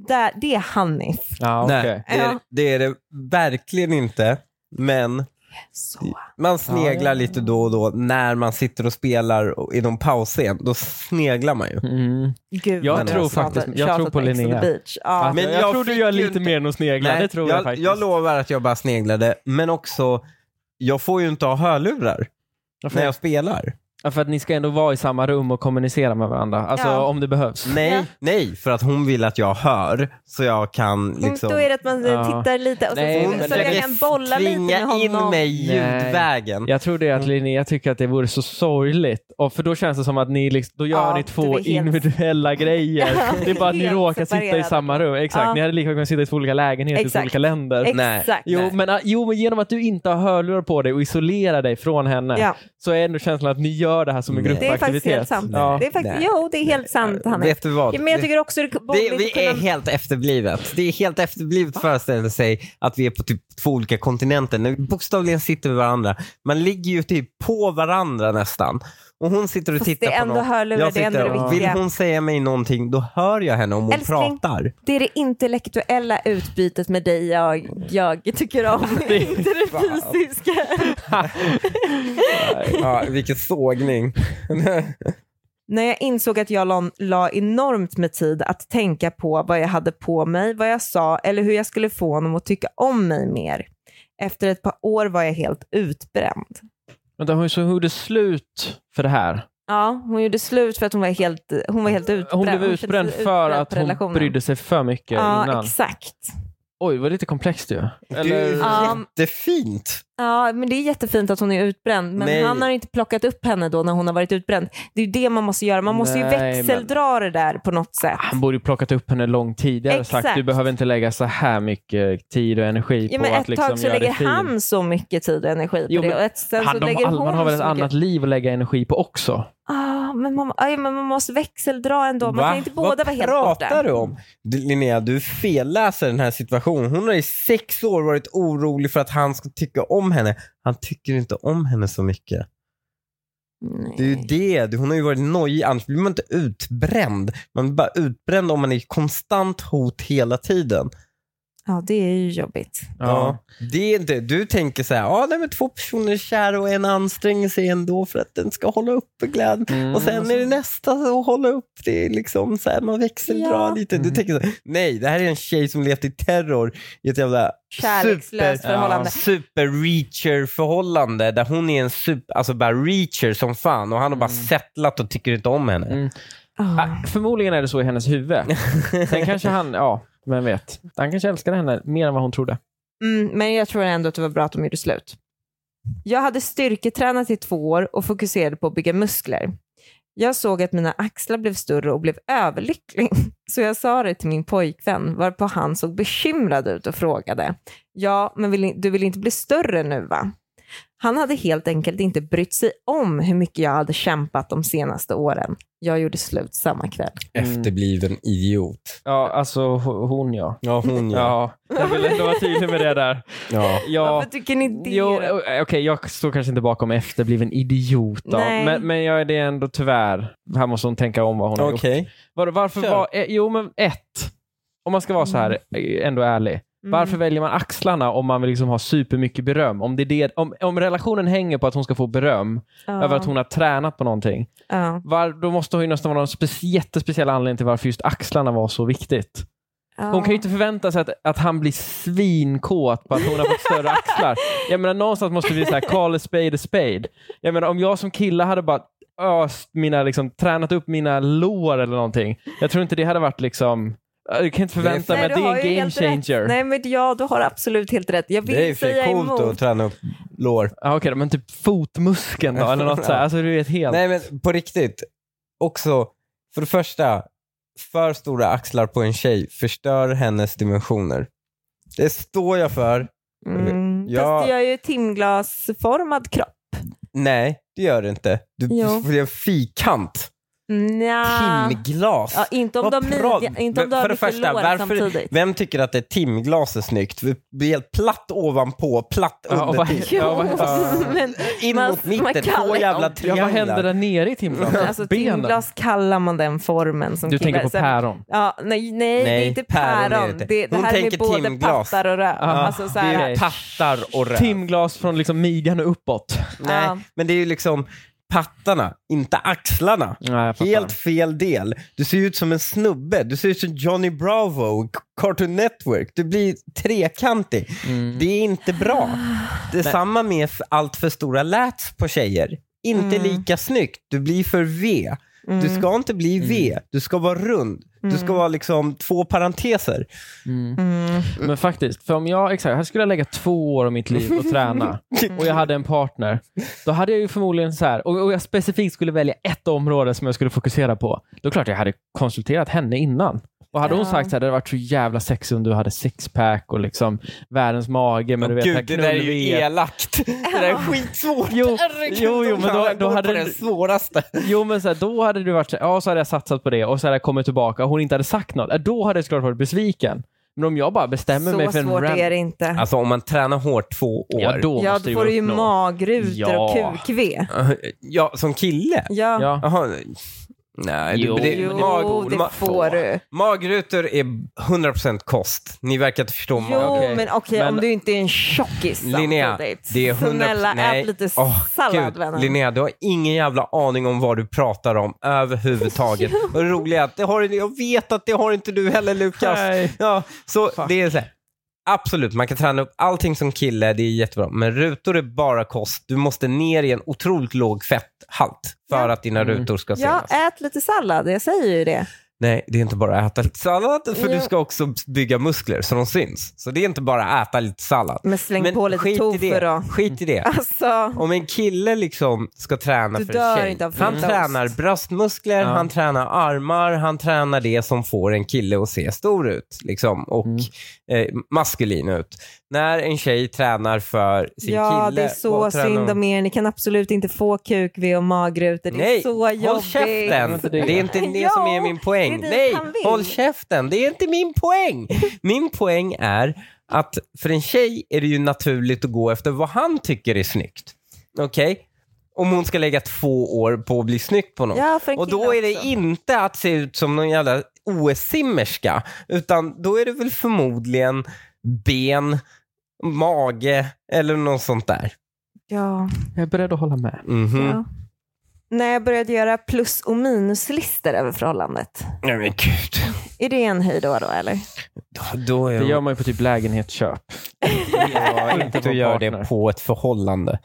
Där, det är Hanif.
Ja, okej.
Nej, det är,
Ja.
det är det verkligen inte. Men
Så.
man sneglar
ja.
lite då och då när man sitter och spelar och- i någon pausscen. Då sneglar man ju.
Mm.
Gud,
Jag
vad
tror
jag
faktiskt-
tjatar-
jag tror
tjatat
på
Ex on the
Linnea.
Beach. Ja.
Att-
men
Alltså, jag,
jag
tror du
fick
gör
ju
lite
inte-
mer än att snegla. det tror jag, faktiskt.
jag lovar att jag bara sneglade, men också jag får ju inte ha hörlurar
Varför?
när jag spelar.
Ja, för att ni ska ändå vara i samma rum och kommunicera med varandra. Alltså
Ja.
om det behövs.
Nej,
Ja.
nej, för att hon vill att jag hör så jag kan liksom...
Då är det att man eh,
Ja.
tittar lite och sen,
Nej,
så,
men
så
det-
jag kan bolla lite med
Tvinga
honom.
in mig
Nej.
ljudvägen.
Jag tror det är att
Mm.
Linnea tycker att det vore så sorgligt. Och för då känns det som att ni liksom, då gör
Ja,
ni
du är
två
helt-
individuella grejer.
Ja,
det är bara att ni
helt
råkar sitta i
separerade.
samma rum. Exakt,
Ja.
ni hade lika gärna kunnat sitta i två olika lägenheter i två
Exakt.
olika länder.
Nej.
Exakt.
Jo
Nej.
men, ah, jo men genom att du inte har hörlurar på dig och isolerar dig från henne
Ja.
så är ändå känslan att ni gör det här som en
Nej.
Det är
gruppaktivitet.
faktiskt helt sant.
Ja.
Det är faktiskt,
Nej.
jo, det är helt sant. Hanna.
Vet du vad?
Ja, Men jag tycker också det är
Det,
borgerligt
vi är
att kunna-
helt efterblivet. Det är helt efterblivet att föreställa sig att vi är på typ två olika kontinenter. När vi bokstavligen sitter med varandra. Man ligger ju typ på varandra nästan. Och hon sitter och
Fast
tittar
det är
på
ändå
något.
hörlurar,
Jag
det är ändå
sitter
det
och- Vill
viktiga.
hon säga mig någonting, då hör jag henne om hon
Älskling.
pratar.
det är det intellektuella utbytet med dig jag, jag tycker om, inte det fysiska.
Ja, vilken sågning.
När jag insåg att jag la, la enormt med tid att tänka på vad jag hade på mig, vad jag sa eller hur jag skulle få honom att tycka om mig mer. Efter ett par år var jag helt utbränd.
Vänta, hon så hon gjorde slut för det här.
Ja, hon gjorde slut för att hon var helt, hon var helt utbränd.
Hon blev
kände sig
utbränd för
utbränd
att
på
hon
relationen.
brydde sig för mycket
Ja,
innan.
exakt.
Oj, det var lite komplext ju.
Det är ju
Eller,
Ja.
jättefint.
Ja, men det är jättefint att hon är utbränd, men
Nej.
han har inte plockat upp henne då när hon har varit utbränd. Det är ju det man måste göra. Man måste ju
Nej, men-
växeldra det där på något sätt.
Han borde ju plockat upp henne långt tidigare och sagt
Exakt.
du behöver inte lägga så här mycket tid och energi
Ja,
på
men
att
ett
liksom
tag så
göra
lägger
det fint.
han så mycket tid och energi på
Jo,
det
men
och ett, sen
Han,
så
de,
lägger
all,
hon
man har väl ett
så mycket.
annat liv att lägga energi på också?
Ah, men, man, aj, men man måste växeldra ändå. Man
Va?
kan inte båda
Vad
vara helt
pratar
borta.
du om? Du, Linnea, du felläser den här situationen. Hon har i sex år varit orolig för att han ska tycka om henne. Han tycker inte om henne så mycket. Det är ju
Nej.
det. Du- Hon har ju varit nojig. Annars blir man inte utbränd. Man blir bara utbränd om man är i konstant hot hela tiden.
Ja, det är ju jobbigt.
Det är inte, du tänker så här, ah, nej, men två personer är kära och en anstränger sig ändå för att den ska hålla uppe glädjen.
Mm.
Och sen är det nästa som håller upp det är liksom så här, man växeldrar
Ja.
lite. Du
Mm.
tänker så här, nej det här är en tjej som levt i terror i ett jävla
Kärlekslöst
super,
förhållande.
super reacher förhållande där hon är en super, alltså bara reacher som fan och han har bara
Mm.
settlat och tycker inte om henne.
Mm.
Ah.
Ah, förmodligen är det så i hennes huvud. Sen kanske han, ja, vem vet. Han kanske älskade henne mer än vad hon trodde.
Mm, men jag tror ändå att det var bra att de gjorde slut. Jag hade styrketränat i två år och fokuserade på att bygga muskler. Jag såg att mina axlar blev större och blev överlycklig, så jag sa det till min pojkvän, varpå han såg bekymrad ut och frågade. Ja, men vill, ni- du vill inte bli större nu va? Han hade helt enkelt inte brytt sig om hur mycket jag hade kämpat de senaste åren. Jag gjorde slut samma kväll.
Efterbliven idiot.
Ja, alltså ho- hon ja.
Ja hon ja.
Ja, jag vill ändå vara tydlig med det där.
ja.
Ja,
Varför tycker ni det? Mm.
jo,
då?
eh, okej, jag står kanske inte bakom efterbliven idiot då.
Nej.
Men, men jag är det är ändå tyvärr. Här måste hon tänka om vad hon har gjort.
Okej.
Var, varför
Kör.
var, eh, jo men ett, om man ska vara så här
Mm.
eh, ändå ärlig. Varför väljer man axlarna om man vill liksom ha supermycket beröm? Om, det är det, om, om relationen hänger på att hon ska få beröm
Ja,
över att hon har tränat på någonting,
ja,
var, då måste hon ju nästan vara någon spec, jättespeciell anledning till varför just axlarna var så viktigt. Hon kan ju inte förvänta sig att, att han blir svinkåt på att hon har fått större axlar. Jag menar, någonstans måste vi så här, call a spade a spade. Jag menar, om jag som kille hade bara öst mina, liksom, tränat upp mina lår eller någonting. Jag tror inte det hade varit liksom... Jag kan inte förvänta mig
Nej,
att
du
det
har
är
ju
en game
helt rätt.
changer.
Nej, men ja, du har absolut helt rätt. Jag vill
Det är ju för
säga
coolt
emot.
att träna upp lår.
Ja, Okej, då, men typ fotmuskeln då, eller något så här. Alltså, du vet helt...
Nej men på riktigt. Också, för det första, för stora axlar på en tjej förstör hennes dimensioner. Det står jag för.
Mm.
Ja.
Fast du gör ju timglasformad kropp.
Nej, det gör det inte. Du,
Jo.
du får en fikant.
Nja.
Timglas.
Ja, inte om
Vad
du har,
prodd.
midja, inte om
Men
du har
för det
mycket
första,
lår
varför-
samtidigt.
Vem tycker att ett timglas är snyggt? Det är helt platt ovanpå, platt
Ja, och
under.
vad-
till.
Jo, Ja, vad-
men
In
man-
mot
man
mitten,
kan-
två jävla
Ja, vad händer
trianglar.
där nere i timglaset?
alltså,
Benen?
timglas kallar man den formen som
Du tänker
killar-
på
Sen-
päron?
Ja, nej, nej, det är
Nej,
inte
päron är
päron.
det
Det,
inte.
det,
Hon
här är
tänker
både
timglas.
pattar och röv.
Ah,
alltså, så
det
här,
är
Pattar och röv.
Timglas från liksom midjan och uppåt.
Nej,
Ja.
men det är ju liksom pattarna, inte axlarna.
Nej, jag fattar.
Helt fel del. Du ser ut som en snubbe. Du ser ut som Johnny Bravo i Cartoon Network. Du blir trekantig.
Mm.
Det är inte bra. Detsamma med f- allt för stora lats på tjejer. Inte
Mm.
lika snyggt. Du blir för V.
Mm.
Du ska inte bli
Mm.
V. Du ska vara rund. Du ska vara liksom två parenteser.
Mm.
Mm.
Men faktiskt, för om jag, exakt, här skulle jag lägga två år av mitt liv och träna och jag hade en partner, då hade jag ju förmodligen så här, och, och jag specifikt skulle välja ett område som jag skulle fokusera på, då är klart jag hade konsulterat henne innan. Och hade hon
Ja.
sagt så här, det hade varit så jävla sexigt om du hade sixpack och liksom världens mage, men du vet, här knullvet.
elakt. Det där är skitsvårt.
Jo, jo, jo, men då, då hade
det
det,
svåraste.
jo, men så här, då hade du varit så här, ja, så hade jag satsat på det och så hade jag kommit tillbaka och hon inte hade sagt något. Ja, Då hade jag såklart varit besviken. Men om jag bara bestämmer mig
så
för en
svårt
ram-
är det inte.
Alltså om man tränar hårt två år.
Ja, då
ja,
måste
då
jag
får du ju
uppnå.
magrutor
Ja.
och kukv.
Ja, som kille?
Ja.
Ja.
Jaha. Nej,
Jo.
det, det,
Jo,
mag,
det
ma-
får du.
Magrutor är 100% kost. Ni verkar inte förstå.
Jo,
mag-
okej.
men okej
Men-
om du inte är en tjockis
Linnea,
samtidigt.
det är 100%...
Snälla,
nej.
ät lite
Åh,
sallad
Gud,
vännen.
Linnea, du har ingen jävla aning om vad du pratar om överhuvudtaget. Och det roliga är att det har, jag vet att det har inte du heller Lukas.
Nej.
Ja, så det är så här. Absolut, man kan träna upp allting som kille, det är jättebra. Men rutor är bara kost. Du måste ner i en otroligt låg fetthalt för att dina rutor ska synas.
Mm. Ja, ät lite sallad. Jag säger ju det.
Nej, det är inte bara att äta lite sallad, för
Ja.
du ska också bygga muskler så de syns. Så det är inte bara att äta lite sallad.
Men Mm, släng på lite
skit i
tofu
det.
då.
Skit i det.
Alltså,
Om en kille liksom ska träna
Du
för
dör
en tjej,
inte av
han
frukost.
tränar bröstmuskler,
Ja.
han tränar armar, han tränar det som får en kille att se stor ut liksom, och eh, maskulin ut. När en tjej tränar för sin
ja
kille...
det är så
vad tränar
synd
hon?
om er. Ni kan absolut inte få kukv och magrutor. Det är
Nej,
så
håll
jobbigt.
käften!
inte
Det
det.
är inte det
Ja,
som är min
det är
poäng.
dit
Nej,
han vill.
håll käften! Det är inte min poäng. Min poäng är att för en tjej är det ju naturligt att gå efter vad han tycker är snyggt. Okej? Om hon ska lägga två år på att bli snygg på någon.
Ja, för en
Och då
kille
är det
också.
inte att se ut som någon jävla OS-simmerska, utan då är det väl förmodligen ben, mage eller något sånt där.
Ja,
Jag är beredd att hålla med.
Mhm.
ja. När jag började göra plus och minuslistor över förhållandet.
Nej men gud.
Är det en hejdå då eller?
Då, då är
Det
jag
gör man ju på typ lägenhetsköp.
Ja,
Inte
inte
på
att göra
partner.
det på ett förhållande.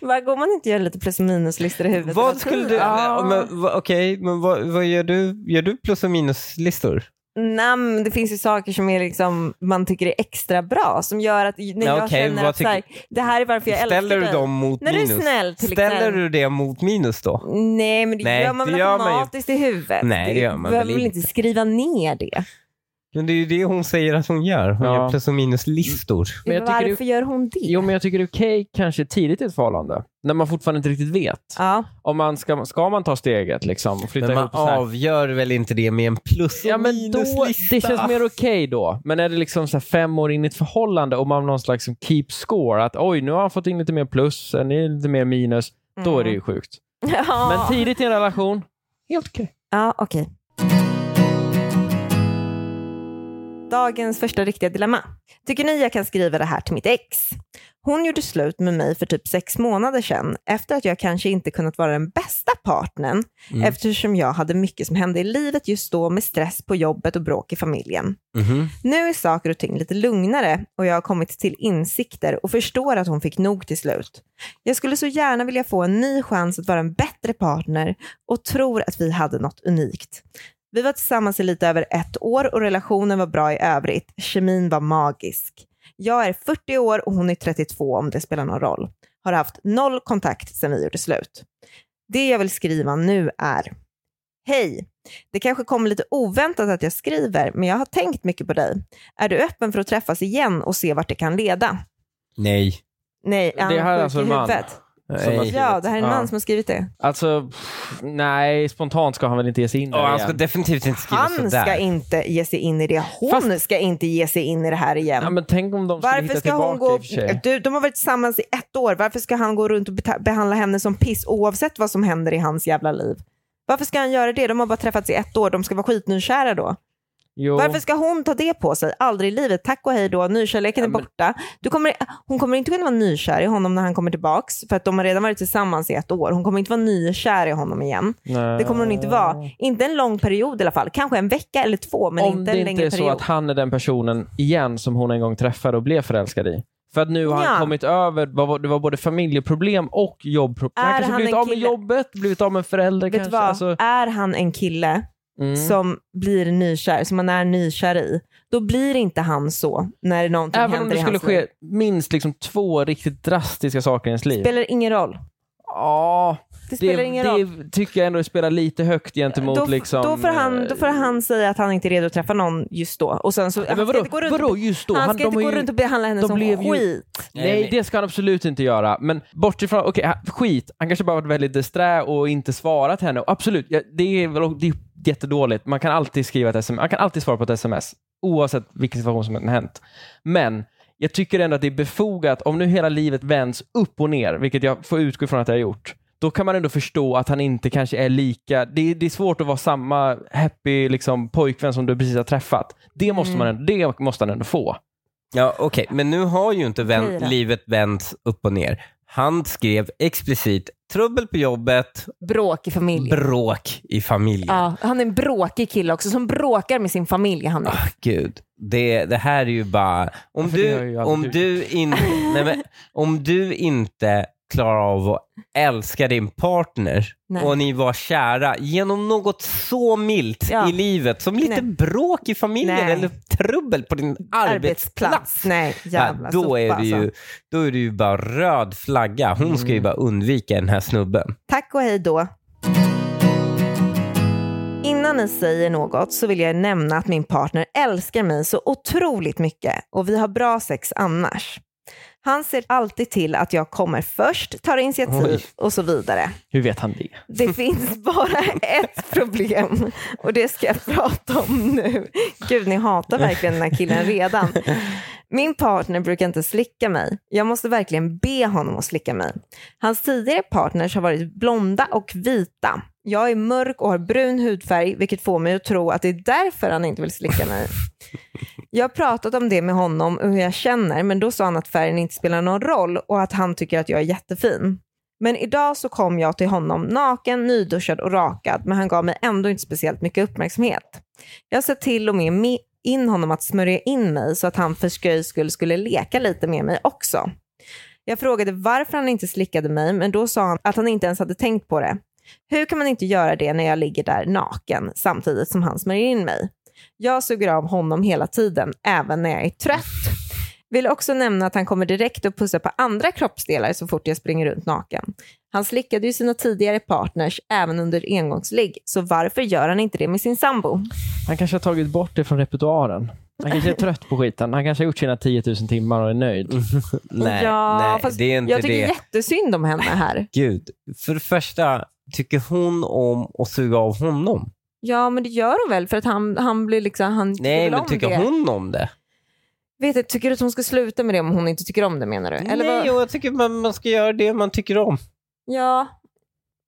Vad går man inte göra lite plus och minuslistor i huvudet? hela
Vad skulle du...
tiden?
Ja. Men, va- Okej, men vad, vad gör du? Gör du plus och minuslistor?
Nej, men det finns ju saker som är liksom, man tycker är extra bra som gör att när jag
okej,
känner
vad
att så här, det här är varför jag älskar
Ställer du
dig.
dem mot
När du är
minus?
snäll, till
Ställer
exempel.
du det mot minus då?
Nej, men det
Nej,
gör man
det
väl
gör man ju.
automatiskt i huvudet?
Nej, det gör
Du
man väl
behöver väl inte skriva ner det?
Men det är ju det hon säger att hon gör. Hon
Ja.
gör plus och minuslistor.
Men jag tycker det-
Varför gör hon det?
Jo, men jag tycker det är okej kanske tidigt i ett förhållande. När man fortfarande inte riktigt vet.
Ja.
Om man ska, ska man ta steget liksom och flytta
Men man
ihop så här.
avgör väl inte det med en plus och
Ja, men då,
minuslista?
det känns mer okej då. Men är det liksom så här fem år in i ett förhållande och man har någon slags som keep score, att oj, nu har han fått in lite mer plus, än lite mer minus, då är det ju
Mm.
sjukt.
ja.
Men tidigt i en relation, helt okej.
Ja, okej. Dagens första riktiga dilemma. Tycker ni jag kan skriva det här till mitt ex? Hon gjorde slut med mig för typ sex månader sedan efter att jag kanske inte kunnat vara den bästa partnern
Mm.
eftersom jag hade mycket som hände i livet just då med stress på jobbet och bråk i familjen.
Mhm.
Nu är saker och ting lite lugnare och jag har kommit till insikter och förstår att hon fick nog till slut. Jag skulle så gärna vilja få en ny chans att vara en bättre partner och tror att vi hade något unikt. Vi var tillsammans i lite över ett år och relationen var bra i övrigt. Kemin var magisk. Jag är 40 år och hon är 32 om det spelar någon roll. Har haft noll kontakt sedan vi gjorde slut. Det jag vill skriva nu är Hej! Det kanske kommer lite oväntat att jag skriver, men jag har tänkt mycket på dig. Är du öppen för att träffas igen och se vart det kan leda?
Nej.
Nej,
Det
han är
här är
sjuk
alltså
i
en man.
huvudet.
Som har
Nej.
skrivit.
Ja, det här är en
Ja.
man som har skrivit det.
Alltså, pff, nej, spontant ska han väl inte ge sig in där
Och han
igen.
ska definitivt inte skriva
Han
sådär.
ska inte ge sig in i det. Hon ska inte ge sig in i det här igen.
Ja, men tänk om de skulle
Varför
hitta
ska
tillbaka
hon gå...
i och för sig.
Du, de har varit tillsammans i ett år. Varför ska han gå runt och beta- behandla henne som piss oavsett vad som händer i hans jävla liv? Varför ska han göra det? De har bara träffats i ett år. De ska vara skitnykära då.
Jo.
Varför ska hon ta det på sig? Aldrig i livet. Tack och hej då. Nykärleken är borta. Du kommer, hon kommer inte kunna vara nykär i honom när han kommer tillbaks för att de har redan varit tillsammans i ett år. Hon kommer inte vara nykär i honom igen.
Nej.
Det kommer hon inte vara. Inte en lång period i alla fall. Kanske en vecka eller två, men
Ah. Om
inte
det
en
inte
längre
är så
period.
att han är den personen igen som hon en gång träffade och blev förälskad i. För att nu har han
Ja.
kommit över, vad var- det var både familjeproblem och jobbproblem.
Är
Han kanske
han
blivit
en
av med
kille?
jobbet, blivit av med föräldrar
Vet du
kanske.
vad?
Alltså,
Är han en kille
mm.
som blir nykär, som man är nykär i, då blir inte han så när någonting
Även om
händer
det
i
skulle
hans liv.
ske minst liksom två riktigt drastiska saker i ens liv.
spelar ingen roll.
Ja,
Det
det,
spelar ingen roll.
det tycker jag ändå spelar lite högt gentemot
Då,
liksom...
då, får han, då får han säga att han inte är redo att träffa någon just då. Och sen så,
Nej,
han
men
ska
vadå,
inte gå runt,
vadå just då?
han
de
ska inte
har
gå
ju-
runt och behandla henne
de
som
blev ju-
skit.
Nej,
men-
det ska han absolut inte göra. Men bortsett från, okej, ha- skit. Han kanske bara varit väldigt disträ och inte svarat henne. Och Absolut, ja, det är väl det är jättedåligt. Man kan alltid skriva ett sms. Man kan alltid svara på ett sms. Oavsett vilken situation som har hänt. Men jag tycker ändå att det är befogat, om nu hela livet vänds upp och ner, vilket jag får utgå från att jag har gjort, då kan man ändå förstå att han inte kanske är lika... Det är, det är svårt att vara samma happy liksom, pojkvän som du precis har träffat. Det måste, man ändå, det måste han ändå få.
Ja, okej. Men nu har ju inte vän,
Okej då.
livet vänts upp och ner. Han skrev explicit trubbel på jobbet,
Bråk i familjen.
bråk i familjen.
Ja, han är en bråkig kille också som bråkar med sin familj. Han är.
Ah, Gud, det, det här är ju bara... Om
för det har
du,
ju aldrig
om, du in, nej men, om du inte klarar av att älska din partner
Nej.
och ni var kära genom något så milt
Ja.
i livet som
Nej.
lite bråk i familjen
Nej.
eller trubbel på din
Ah,
arbetsplats.
Nej, jävla
Ja, då,
sopa,
är det ju,
alltså. Mm.
då är det ju bara röd flagga. Hon ska ju bara undvika den här snubben.
Tack och hej då. Innan ni säger något så vill jag nämna att min partner älskar mig så otroligt mycket och vi har bra sex annars. Han ser alltid till att jag kommer först, tar initiativ
Oj.
och så vidare.
Hur vet han det?
Det finns bara ett problem och det ska jag prata om nu. Gud, ni hatar verkligen den här killen redan. Min partner brukar inte slicka mig. Jag måste verkligen be honom att slicka mig. Hans tidigare partners har varit blonda och vita. Jag är mörk och har brun hudfärg, vilket får mig att tro att det är därför han inte vill slicka mig. Jag har pratat om det med honom och hur jag känner, men då sa han att färgen inte spelar någon roll och att han tycker att jag är jättefin. Men idag så kom jag till honom naken, nyduschad och rakad, men han gav mig ändå inte speciellt mycket uppmärksamhet. Jag sa till och med me- in honom att smörja in mig så att han för skojs skull skulle leka lite med mig också. Jag frågade varför han inte slickade mig, men då sa han att han inte ens hade tänkt på det. Hur kan man inte göra det när jag ligger där naken samtidigt som han smörjer in mig? Jag suger av honom hela tiden, även när jag är trött. Vill också nämna att han kommer direkt och pussar på andra kroppsdelar så fort jag springer runt naken. Han slickade ju sina tidigare partners även under engångsligg, så varför gör han inte det med sin sambo?
Han kanske har tagit bort det från repertoaren. Han kanske är trött på skiten. Han kanske har gjort sina 10 000 timmar och är nöjd.
Mm. Nej,
Ja,
nej
fast
det är inte
Jag tycker
det.
jättesynd om henne här.
Gud, för det första, tycker hon om att suga av honom?
Ja, men det gör hon väl för att han, han blir liksom, han
Nej,
väl
men
om
tycker
det.
hon om det?
Vet du, tycker du att hon ska sluta med det om hon inte tycker om det menar du? Eller
Nej,
vad?
och jag tycker man, man ska göra det man tycker om.
Ja.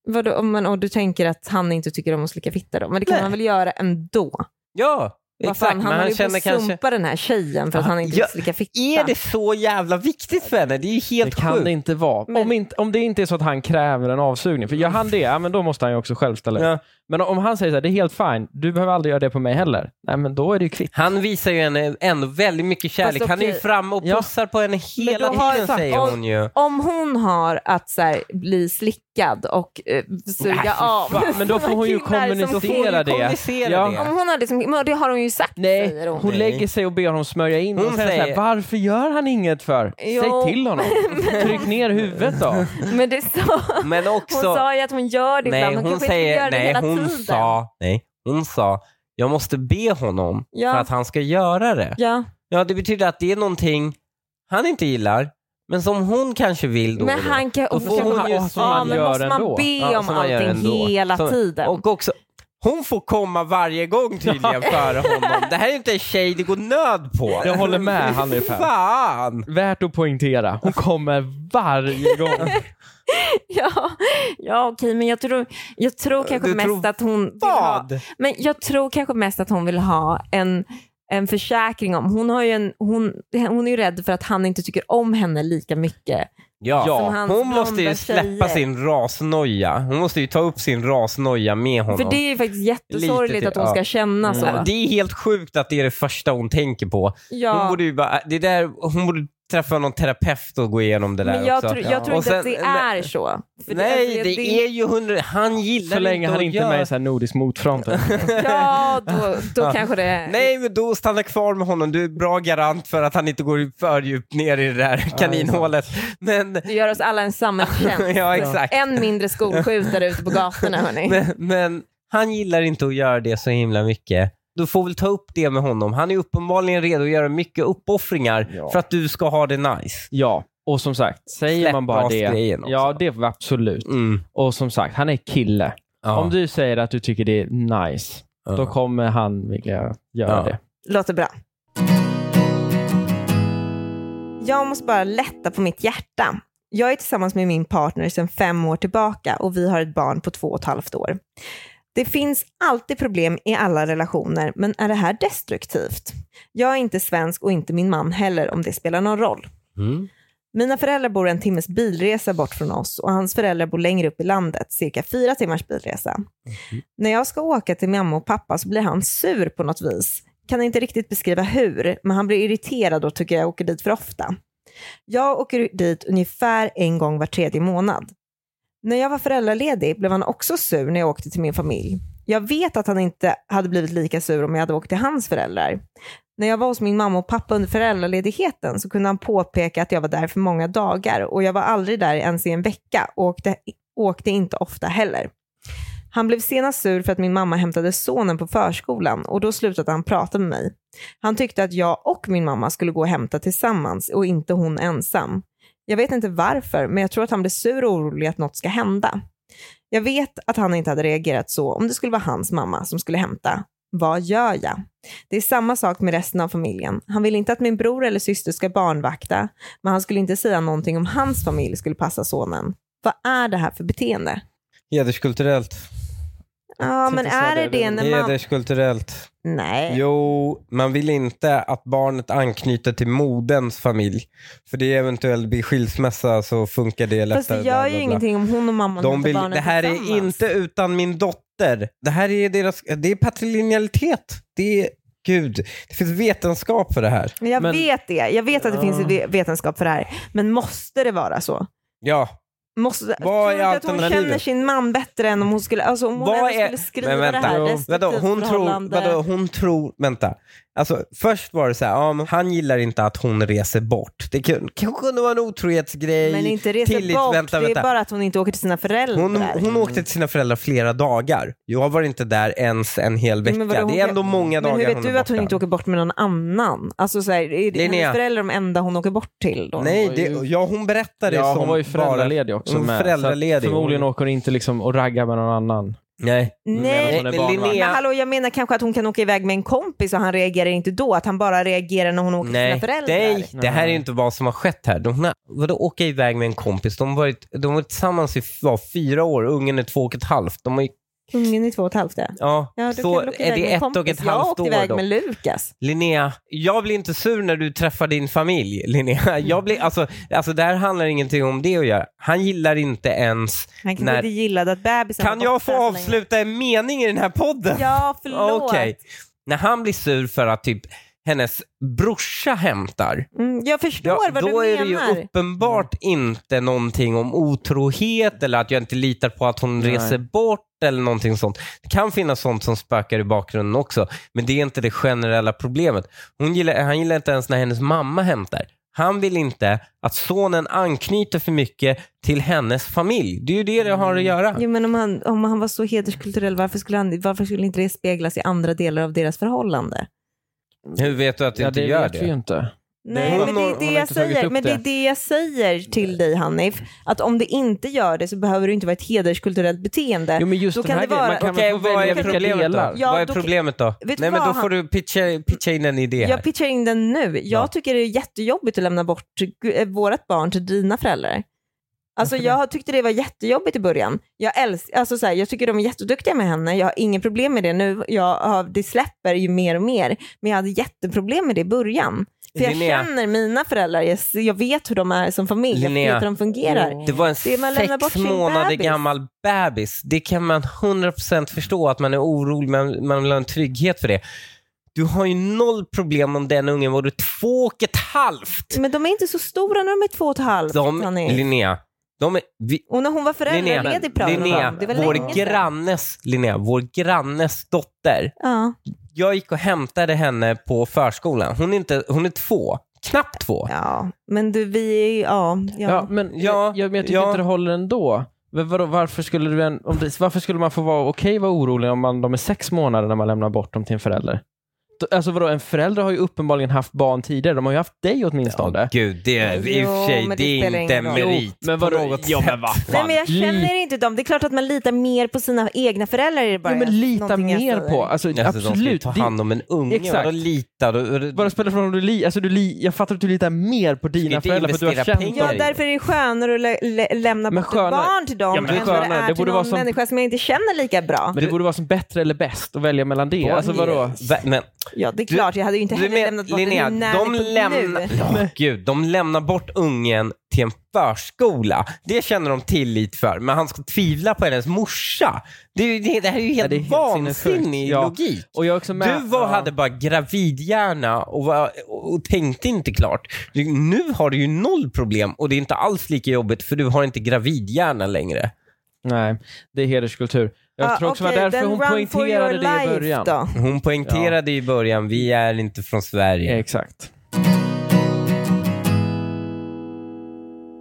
Vadå, men, och du tänker att han inte tycker om att slicka fitta då? Men det kan
Nej.
han väl göra ändå?
Ja,
Vad
Exakt,
fan,
men
han
han
håller ju på
känner
att
kanske-
sumpa den här tjejen för att
Ja,
han inte
ja,
vill slicka fitta.
Är det så jävla viktigt för henne? Det är ju
Det
helt
kan
sjukt.
det inte vara.
Men-
Om, inte, om det inte är så att han kräver en avsugning. För gör han det, ja, men då måste han ju också själv ställa upp.
Ja.
Men om han säger så här, det är helt fine, du behöver aldrig göra det på mig heller. Nej, men då är det ju kvitt.
Han visar ju henne ändå väldigt mycket kärlek.
Fast
Han är ju
okej.
framme och
Ja.
pussar på henne hela
då har-
tiden
så-
säger
om-
hon ju.
Om hon har att så här, bli slickad och eh, suga
Nej, fy
av.
fan. Men då får hon ju
Killar som
kommunicera
får-
det.
kommunicera
Ja.
det.
Om hon har liksom, men det har hon ju sagt
Nej,
säger
hon
hon.
Nej.
lägger sig och ber honom smörja in.
Hon
och säger, så
säger-
här, varför gör han inget för?
Jo.
Säg till honom. Tryck ner huvudet då.
Men det sa,
Men också...
hon sa ju att hon gör det
nej,
ibland.
hon
kanske inte
säger,
gör det
nej,
hela
hon
tiden.
sa, nej, hon sa, jag måste be honom
Ja.
för att han ska göra det.
Ja.
Ja, det betyder att det är någonting han inte gillar, men som hon kanske vill då.
Men
och då.
han kan, hon
Och får
kan
hon
bara-
ju-
ja,
som man
men
gör
måste man
ändå.
be
Ja,
om
som man gör
allting
ändå.
hela
Så-
tiden?
Och också, hon får komma varje gång tydligen före honom. Det här är ju inte en tjej det går nöd på.
Jag håller med, han är fan.
Fan!
Värt att poängtera. Hon kommer varje gång.
Ja, ja okej, men jag tror, jag tror kanske
Du
mest
tror
att hon... vill ha-
Vad?
Men jag tror kanske mest att hon vill ha en, en försäkring om... Hon, har ju en, hon, hon är ju rädd för att han inte tycker om henne lika mycket.
Ja,
Som
hans
hon måste ju
blonda
släppa
tjejer.
sin rasnoja. Hon måste ju ta upp sin rasnoja med honom.
För det är ju faktiskt
Lite
jättesorgligt
till,
att hon
ja.
ska känna så.
Det är helt sjukt att det är det första hon tänker på. Hon
Ja.
borde ju bara, äh, det där, hon borde träffa någon terapeut och gå igenom det där
Men jag,
också.
tror- jag tror
Och
inte att
sen-
det
nej-
är så. För
Nej, det,
alltså,
är ju hundra... Han gillar
Så länge
inte
han
att
inte är
göra-
med i så här nordisk motfront.
Ja, då, då kanske det...
Nej, men då stanna kvar med honom. Du är bra garant för att han inte går för djupt ner i det där kaninhålet. Men,
Det gör oss alla en samhällstjänst.
ja exakt.
En mindre skolskjutare ute på gatorna, hörni.
Men, men han gillar inte att göra det så himla mycket. Du får väl ta upp det med honom. Han är uppenbarligen redo att göra mycket uppoffringar
Ja.
för att du ska ha det nice.
Ja, och som sagt, säger
Släpp
man bara det.
rasgrejen också.
Ja, det var absolut.
Mm.
Och som sagt, han är kille.
Ja.
Om du säger att du tycker det är nice,
Ja.
då kommer han vilja göra
Ja.
det.
Låter bra. Jag måste bara lätta på mitt hjärta. Jag är tillsammans med min partner sedan fem år tillbaka och vi har ett barn på två och ett halvt år. Det finns alltid problem i alla relationer, men är det här destruktivt? Jag är inte svensk och inte min man heller om det spelar någon roll.
Mm.
Mina föräldrar bor en timmes bilresa bort från oss och hans föräldrar bor längre upp i landet, cirka fyra timmars bilresa. När jag ska åka till mamma och pappa så blir han sur på något vis. Kan inte riktigt beskriva hur, men han blir irriterad och tycker jag åker dit för ofta. Jag åker dit ungefär en gång var tredje månad. När jag var föräldraledig blev han också sur när jag åkte till min familj. Jag vet att han inte hade blivit lika sur om jag hade åkt till hans föräldrar. När jag var hos min mamma och pappa under föräldraledigheten så kunde han påpeka att jag var där för många dagar och jag var aldrig där ens i en vecka och åkte, åkte inte ofta heller. Han blev senast sur för att min mamma hämtade sonen på förskolan och då slutade han prata med mig. Han tyckte att jag och min mamma skulle gå och hämta tillsammans och inte hon ensam. Jag vet inte varför, men jag tror att han blev sur och orolig att något ska hända. Jag vet att han inte hade reagerat så om det skulle vara hans mamma som skulle hämta. Vad gör jag? Det är samma sak med resten av familjen. Han vill inte att min bror eller syster ska barnvakta, men han skulle inte säga någonting om hans familj skulle passa sonen. Vad är det här för beteende?
Hederskulturellt.
Ja, men
tänkte säga
är det
det.
det när man...
Hederskulturellt.
Nej.
Jo, man vill inte att barnet anknyter till moderns familj. För det är eventuellt vid skilsmässa så funkar det lättare.
Fast det
bla,
gör
bla,
ju
bla.
ingenting om hon och mamman
De
hämtar
vill,
barnen
det här är
tillsammans.
inte utan min dotter. Det här är deras, det är patrilinealitet. Det är, gud, det finns vetenskap för det här.
Men jag
Men-
vet det. Jag vet att det
Ja.
finns ve- vetenskap för det här. Men måste det vara så?
Ja,
Måste,
är
tror du inte att hon
alternativet?
känner sin man bättre än om hon skulle, alltså om hon
Vad
ändå
är-
skulle skriva
Men vänta.
det här
Jo.
restriktivt
Vadå, hon tror,
förhållande?
vadå, hon tror, vänta. Alltså, först var det så här, ja, men han gillar inte att hon reser bort. Det kun- kanske kunde vara en otrohetsgrej.
men inte resa
tillit-
bort,
vänta,
det är
vänta.
bara att hon inte åker till sina föräldrar.
Hon, hon åkte till sina föräldrar flera dagar. Jag var inte där ens en hel vecka.
Men vadå, hon
det är ändå
kan-
många
men
dagar
hur vet
hon
du
är
att hon
borta.
inte åker bort med någon annan? Alltså så här, är det
Linnea.
hennes föräldrar de enda hon åker bort till då?
Nej, det,
Hon var ju-
ja, hon berättade
Ja,
som
hon var ju föräldraledig också.
hon var
Med, så att
föräldraledig.
Förmodligen
Hon-
åker hon inte liksom och raggar med någon annan.
Nej.
Medan
Nej,
hon är
men
barnvakt.
Linnea-
men hallå jag menar kanske att hon kan åka iväg med en kompis och han reagerar inte då, att han bara reagerar när hon åker till
Nej,
sina föräldrar.
nej, det här är
Nej.
ju inte vad som har skett här. De har, vadå åka iväg med en kompis? De har varit, de har varit tillsammans i f- vad, fyra år, ungen är två och ett halvt. De har ju
Ungen är två och ett halvt, ja.
Ja,
ja du
så
kan åka
är
iväg
det
med
ett
kompis.
och ett
Jag
halvt
åkte iväg
år då.
med Lukas.
Linnea, jag blir inte sur när du träffar din familj. Linnea, jag blir, alltså, alltså, där handlar ingenting om det att göra. Han gillar inte ens...
Han kanske
När-
inte gillade att bebisen
Kan
var
jag
borta så
få
länge.
avsluta en mening i den här podden?
Ja, förlåt.
Okej. När han blir sur för att typ hennes brorsa hämtar,
Mm, jag förstår
ja,
vad
då
du
är det
menar.
ju uppenbart
Mm.
inte någonting om otrohet eller att jag inte litar på att hon
Nej.
reser bort eller någonting sånt. Det kan finnas sånt som spökar i bakgrunden också, men det är inte det generella problemet. Hon gillar, han gillar inte ens när hennes mamma hämtar. Han vill inte att sonen anknyter för mycket till hennes familj. Det är ju det det har att
Mm.
göra.
Jo, men om, han, om han var så hederskulturell, varför skulle, han, varför skulle inte det speglas i andra delar av deras förhållande?
Hur vet du att du
Ja,
inte
det
gör
vet vi ju
det?
inte.
Nej,
hon
men det
har-
är
hon
det
har
jag
inte tagit
säger.
upp
Men det är
det.
det jag säger till dig Hanif, att om det inte gör det så behöver det inte vara ett hederskulturellt beteende.
Jo, men just
Då
den
kan
här
det vara-
grejen, man kan
Okej,
väl
vad
välja
är
vilka
problemet då?
delar.
Ja,
Vad är
då-
problemet då?
du
Nej, men
vad,
då
han-
får du pitcha, pitcha in en idé här.
Jag pitchar in den nu. Jag
Ja.
tycker det är jättejobbigt att lämna bort eh, vårat barn till dina föräldrar. Alltså jag tyckte det var jättejobbigt i början. Jag, älsk, alltså så här, jag tycker de är jätteduktiga med henne, jag har inga problem med det nu, jag har, det släpper ju mer och mer. Men jag hade jätteproblem med det i början. För jag
Linnea.
känner mina föräldrar, jag, s- jag vet hur de är som familj, jag
Linnea.
vet hur de fungerar.
Mm. Det var en
Det är man lämnar bort
sex
sin
månader
bebis.
gammal bebis. Det kan man 100% förstå att man är orolig, men man vill ha en trygghet för det. Du har ju noll problem om den ungen vore två och ett halvt.
Men de är inte så stora när de är två och ett halvt.
De,
Hanif.
Linnea, de är, vi,
Och när hon var
Linnea,
föräldraledig pratade de
Linnea,
om. Det var länge
vår
sedan.
grannes, Linnea, vår grannes dotter.
Ja,
Jag gick och hämtade henne på förskolan. Hon är, inte, hon är två, knappt två.
ja. men du, vi är ju, ja. ja.
Ja, men, eh,
Ja,
jag, men jag tycker
ja.
inte det håller ändå. Men vadå, varför, skulle du en, om det, varför skulle man få vara okej vara orolig om man, de är sex månader när man lämnar bort dem till en förälder? Då- Alltså vadå, en förälder har ju uppenbarligen haft barn tidigare. De har ju haft dig åtminstone.
Ja, gud, det är i och för
Jo,
sig,
men
det
det
är
spelar
inte en
ingen roll.
merit
Jo, men vadå?
på något
Ja,
sätt.
men vad
Nej, men jag
Fan,
känner inte dem. Det är klart att man litar mer på sina egna föräldrar. Är det bara
Ja, men lita
någonting jag
mer
säger.
på. Alltså,
Alltså, de ska ju
absolut.
ta
Det-
hand om en unge.
Exakt.
Vadå lita? Då- då-
Bara spelar för om du li, alltså du li, jag fattar att du litar mer på dina
inte
föräldrar för att du har
investera
känt
pengar
Ja,
dem.
i det.
därför är det skönare att lä- lä- lämna
Men
bort
skönare-
ett barn till dem
Ja, men det är
än vad det
skönare.
är
Det
till
borde
någon
vara som-
människa som jag inte känner lika bra.
Men det borde vara som bättre eller bäst att välja mellan det. Alltså vadå?
Va- Men,
ja, det är klart. Jag hade ju inte heller lämnat bort
Linnea,
min nanny
de
på-
lämnar,
nu.
ja, gud, de lämnar bort ungen till en förskola. Det känner de tillit för, men han ska tvivla på hennes morsa. Det, är ju- det, det här är ju helt,
det är helt
vansinnig
sinnessjukt. Ja.
logik.
Och jag är också med.
Du var,
Ja.
hade bara gravidhjärna och, var, och, och tänkte inte klart. Du, nu har du ju noll problem och det är inte alls lika jobbigt för du har inte gravidhjärna längre.
Nej, det är hederskultur. Jag
Ja,
tror också
Ah, okej,
det var därför
then
hon
run for your
poängterade det i
life
början.
Då.
Hon poängterade i början, vi är inte från Sverige.
Exakt.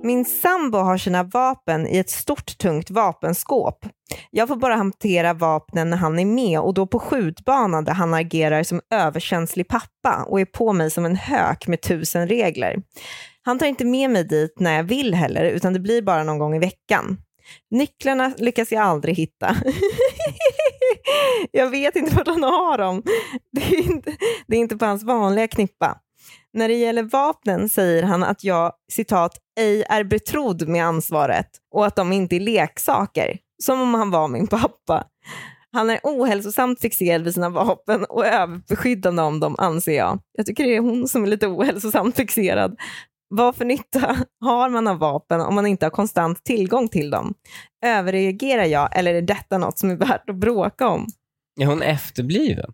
Min sambo har sina vapen i ett stort tungt vapenskåp. Jag får bara hantera vapnen när han är med och då på skjutbanan där han agerar som överkänslig pappa och är på mig som en hök med tusen regler. Han tar inte med mig dit när jag vill heller utan det blir bara någon gång i veckan. Nycklarna lyckas jag aldrig hitta. jag vet inte vart han har dem. Det är inte, det är inte på hans vanliga knippa. När det gäller vapnen säger han att jag, citat, ej är betrodd med ansvaret och att de inte är leksaker, som om han var min pappa. Han är ohälsosamt fixerad vid sina vapen och överbeskyddande om dem, anser jag. Jag tycker det är hon som är lite ohälsosamt fixerad. Vad för nytta har man av vapen om man inte har konstant tillgång till dem? Överreagerar jag eller är detta något som är värt att bråka om?
Är hon efterbliven?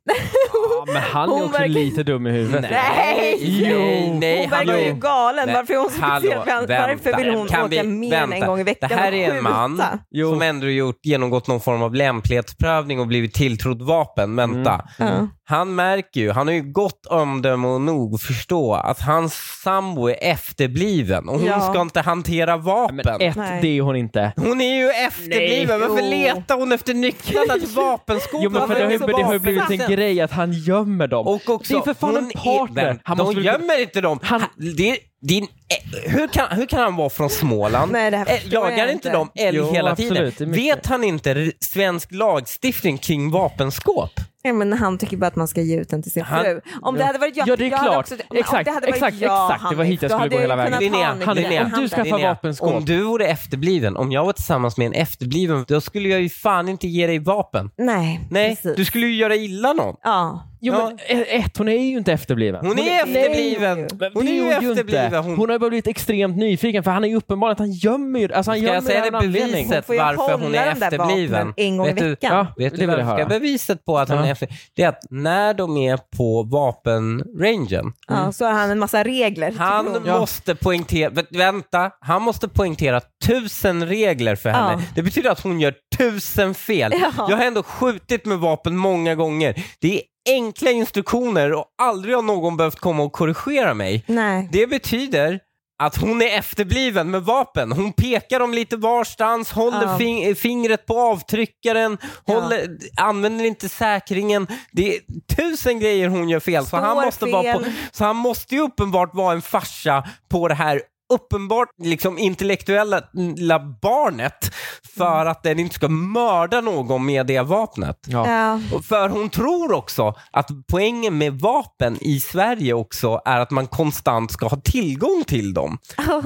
Ja, men han
Hon
är också
verkar-
lite dum i huvudet.
Nej!
Jo!
nej,
hon verkar ju galen.
Nej,
Varför är hon så
hallå,
fixerad vid han- Varför
vänta.
vill hon
Kan
åka
vi-
mer än
vänta.
en gång i veckan
Det här
och
är en man.
skjuta?
Jo.
Som ändå gjort, genomgått någon form av lämplighetsprövning och blivit tilltrodd vapen. Vänta.
Mm. Ja.
Han märker ju, han har ju gott omdöme och nog att förstå att hans sambo är efterbliven och hon
Ja.
ska inte hantera vapen.
Men ett,
Nej.
det är hon inte.
Hon är ju efterbliven,
Nej.
varför
Jo.
letar hon efter nycklarna till vapenskåpet?
Jo, men för
Varför
det, har, ju-
är hon så
det har ju blivit
vapensatt?
en grej att han gömmer dem.
Och också,
det är för fan
hon
en partner.
Är, han
Han
de
måste väl-
gömmer inte dem. Han,
Han-
det, din, eh, hur, kan, hur kan han vara från Småland?
Nej, det här
Eh,
förstår
Jagar
jag
inte
inte.
dem älg
Jo,
hela
absolut, det är
tiden?
mycket.
Vet han inte r- svensk lagstiftning kring vapenskåp?
Nej, men han tycker bara att man ska ge ut den till sin
Han-
fru. Om det
Ja.
hade varit jag,
Ja, det är
jag hade
klart.
Också, om- om
Exakt,
det hade varit
exakt,
jag,
exakt. Det var
Hanif,
hit jag
då
skulle
hade
gå hela vägen.
kunnat
Linnea,
ta honom i
han-
den
Linnea,
handen.
du ska- Skaffa
Linnea,
vapenskåp.
Om du vore efterbliven, om jag var tillsammans med en efterbliven, då skulle jag ju fan inte ge dig vapen.
Nej,
Nej,
precis.
du skulle ju göra illa någon.
Ja.
Jo,
Ja.
men eh, ett, hon är ju inte efterbliven.
Hon är efterbliven.
Men
Hon
det
är ju
hon inte.
efterbliven.
Hon...
Hon-
har ju bara blivit extremt nyfiken för han är ju uppenbarligen att han gömmer ju- alltså han
Ska
gömmer
jag säga
av en
det
anledning.
beviset
Får jag
varför hon
hålla
är
de där
efterbliven?
vapnen en gång i
Vet du-
veckan?
Ja,
Vet
det
du
vill jag
vad ska
höra.
beviset på att hon
Ja.
är efter... Det är att när de är på vapenrangen,
ja, så har han en massa regler. tycker
han
hon.
måste poängtera, vä- vänta, han måste poängtera tusen regler för henne.
Ja.
Det betyder att hon gör tusen fel.
Ja.
Jag har ändå skjutit med vapen många gånger. Det är enkla instruktioner och aldrig har någon behövt komma och korrigera mig.
Nej.
Det betyder att hon är efterbliven med vapen. Hon pekar dem lite varstans, håller
Ja.
fing- fingret på avtryckaren,
Ja.
håller, använder inte säkringen. Det är tusen grejer hon gör fel. Så han,
Står
måste vara på,
fel.
så han måste ju uppenbart vara en farsa på det här uppenbart liksom intellektuella lilla barnet för att den inte ska mörda någon med det vapnet.
Ja.
Ja.
Och För hon tror också att poängen med vapen i Sverige också är att man konstant ska ha tillgång till dem.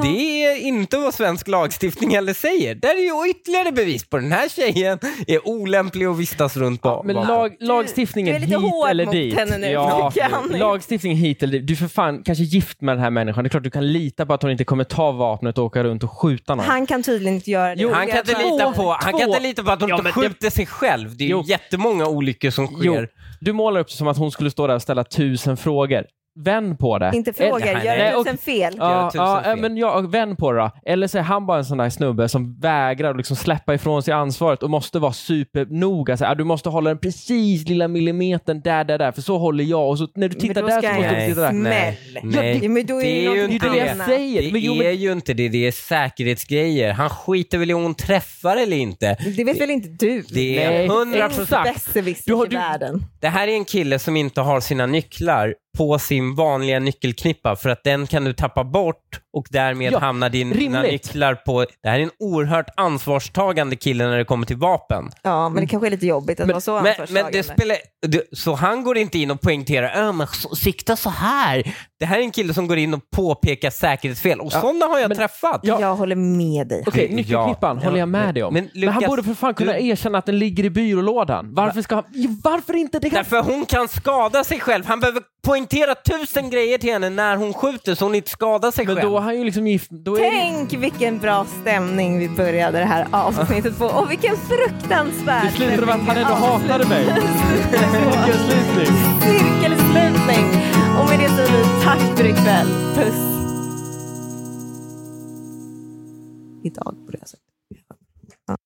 Det är inte vad svensk lagstiftning heller säger. Där är ju ytterligare bevis på den här tjejen är olämplig att vistas runt på
Men
vapen.
lag, lagstiftningen
du är lite
hit
hård
eller
mot
dit.
henne nu,
ja,
tycker jag.
lagstiftningen hit eller dit. Du är för fan kanske gift med den här människan. Det är klart du kan lita på att hon inte kommer ta vapnet och åka runt och skjuta någon.
Han kan tydligen inte göra det.
Jo,
han kan, inte lita på, han kan inte lita på att hon
Ja,
inte
men det-
skjuter sig själv. Det är ju
Jo.
jättemånga olyckor som sker.
Jo, du målar upp det som att hon skulle stå där och ställa tusen frågor. Vänd på det.
Inte fråga,
Nej,
gör
nej.
tusen fel.
Ja,
tusen
ja
fel.
men jag, vänd på det då. Eller så är han bara en sån där snubbe som vägrar att liksom släppa ifrån sig ansvaret och måste vara supernoga. Så här, "Ah, du måste hålla den precis lilla millimetern där, där, där, för så håller jag. Och så när du tittar
då
där
ska
så
jag
måste
göra
du titta där.
smäll.
Nej.
Ja, men då är det
det är ju
någonting
Det
inte
är det jag
annat.
säger.
Det
Men, jo,
är
men,
ju inte det, det är säkerhetsgrejer. Han skiter väl i om hon träffar eller inte.
Det vet väl inte du?
Det är
Nej,
hundra
exakt.
procent.
Besserwisser
Du har-
i
du-
världen.
Det här är en kille som inte har sina nycklar på sin vanliga nyckelknippa för att den kan du tappa bort och därmed
Ja,
hamnar din- dina
rimligt.
nycklar på... Det här är en oerhört ansvarstagande kille när det kommer till vapen.
Ja,
Mm.
men det kanske är lite jobbigt att vara så
men, men
ansvarstagande.
det spelar, det, Så han går inte in och poängterar äh, men så, sikta så här. Det här är en kille som går in och påpekar säkerhetsfel och sådana har jag träffat.
Ja.
Jag håller med dig.
Okej,
Ja.
nyckelknippan
Ja,
håller jag med
men-
dig om. Men,
men
han
Lukas,
borde för fan kunna
du-
erkänna att den ligger i byrålådan. Varför ska han... Jo, Varför inte? Det kan...
Därför hon kan skada sig själv. Han behöver poängtera tusen grejer till henne när hon skjuter så hon inte skadar sig
Men
själv.
då är han ju liksom gift. Då är det-
Tänk vilken bra stämning vi började det här avsnittet på och vilken fruktansvärd
Det slutade med att han ändå
Ja.
hatade mig. Cirkelslutning.
cirkelslutning. Och med det säger vi tack för ikväll. Puss. Idag borde jag ha sagt.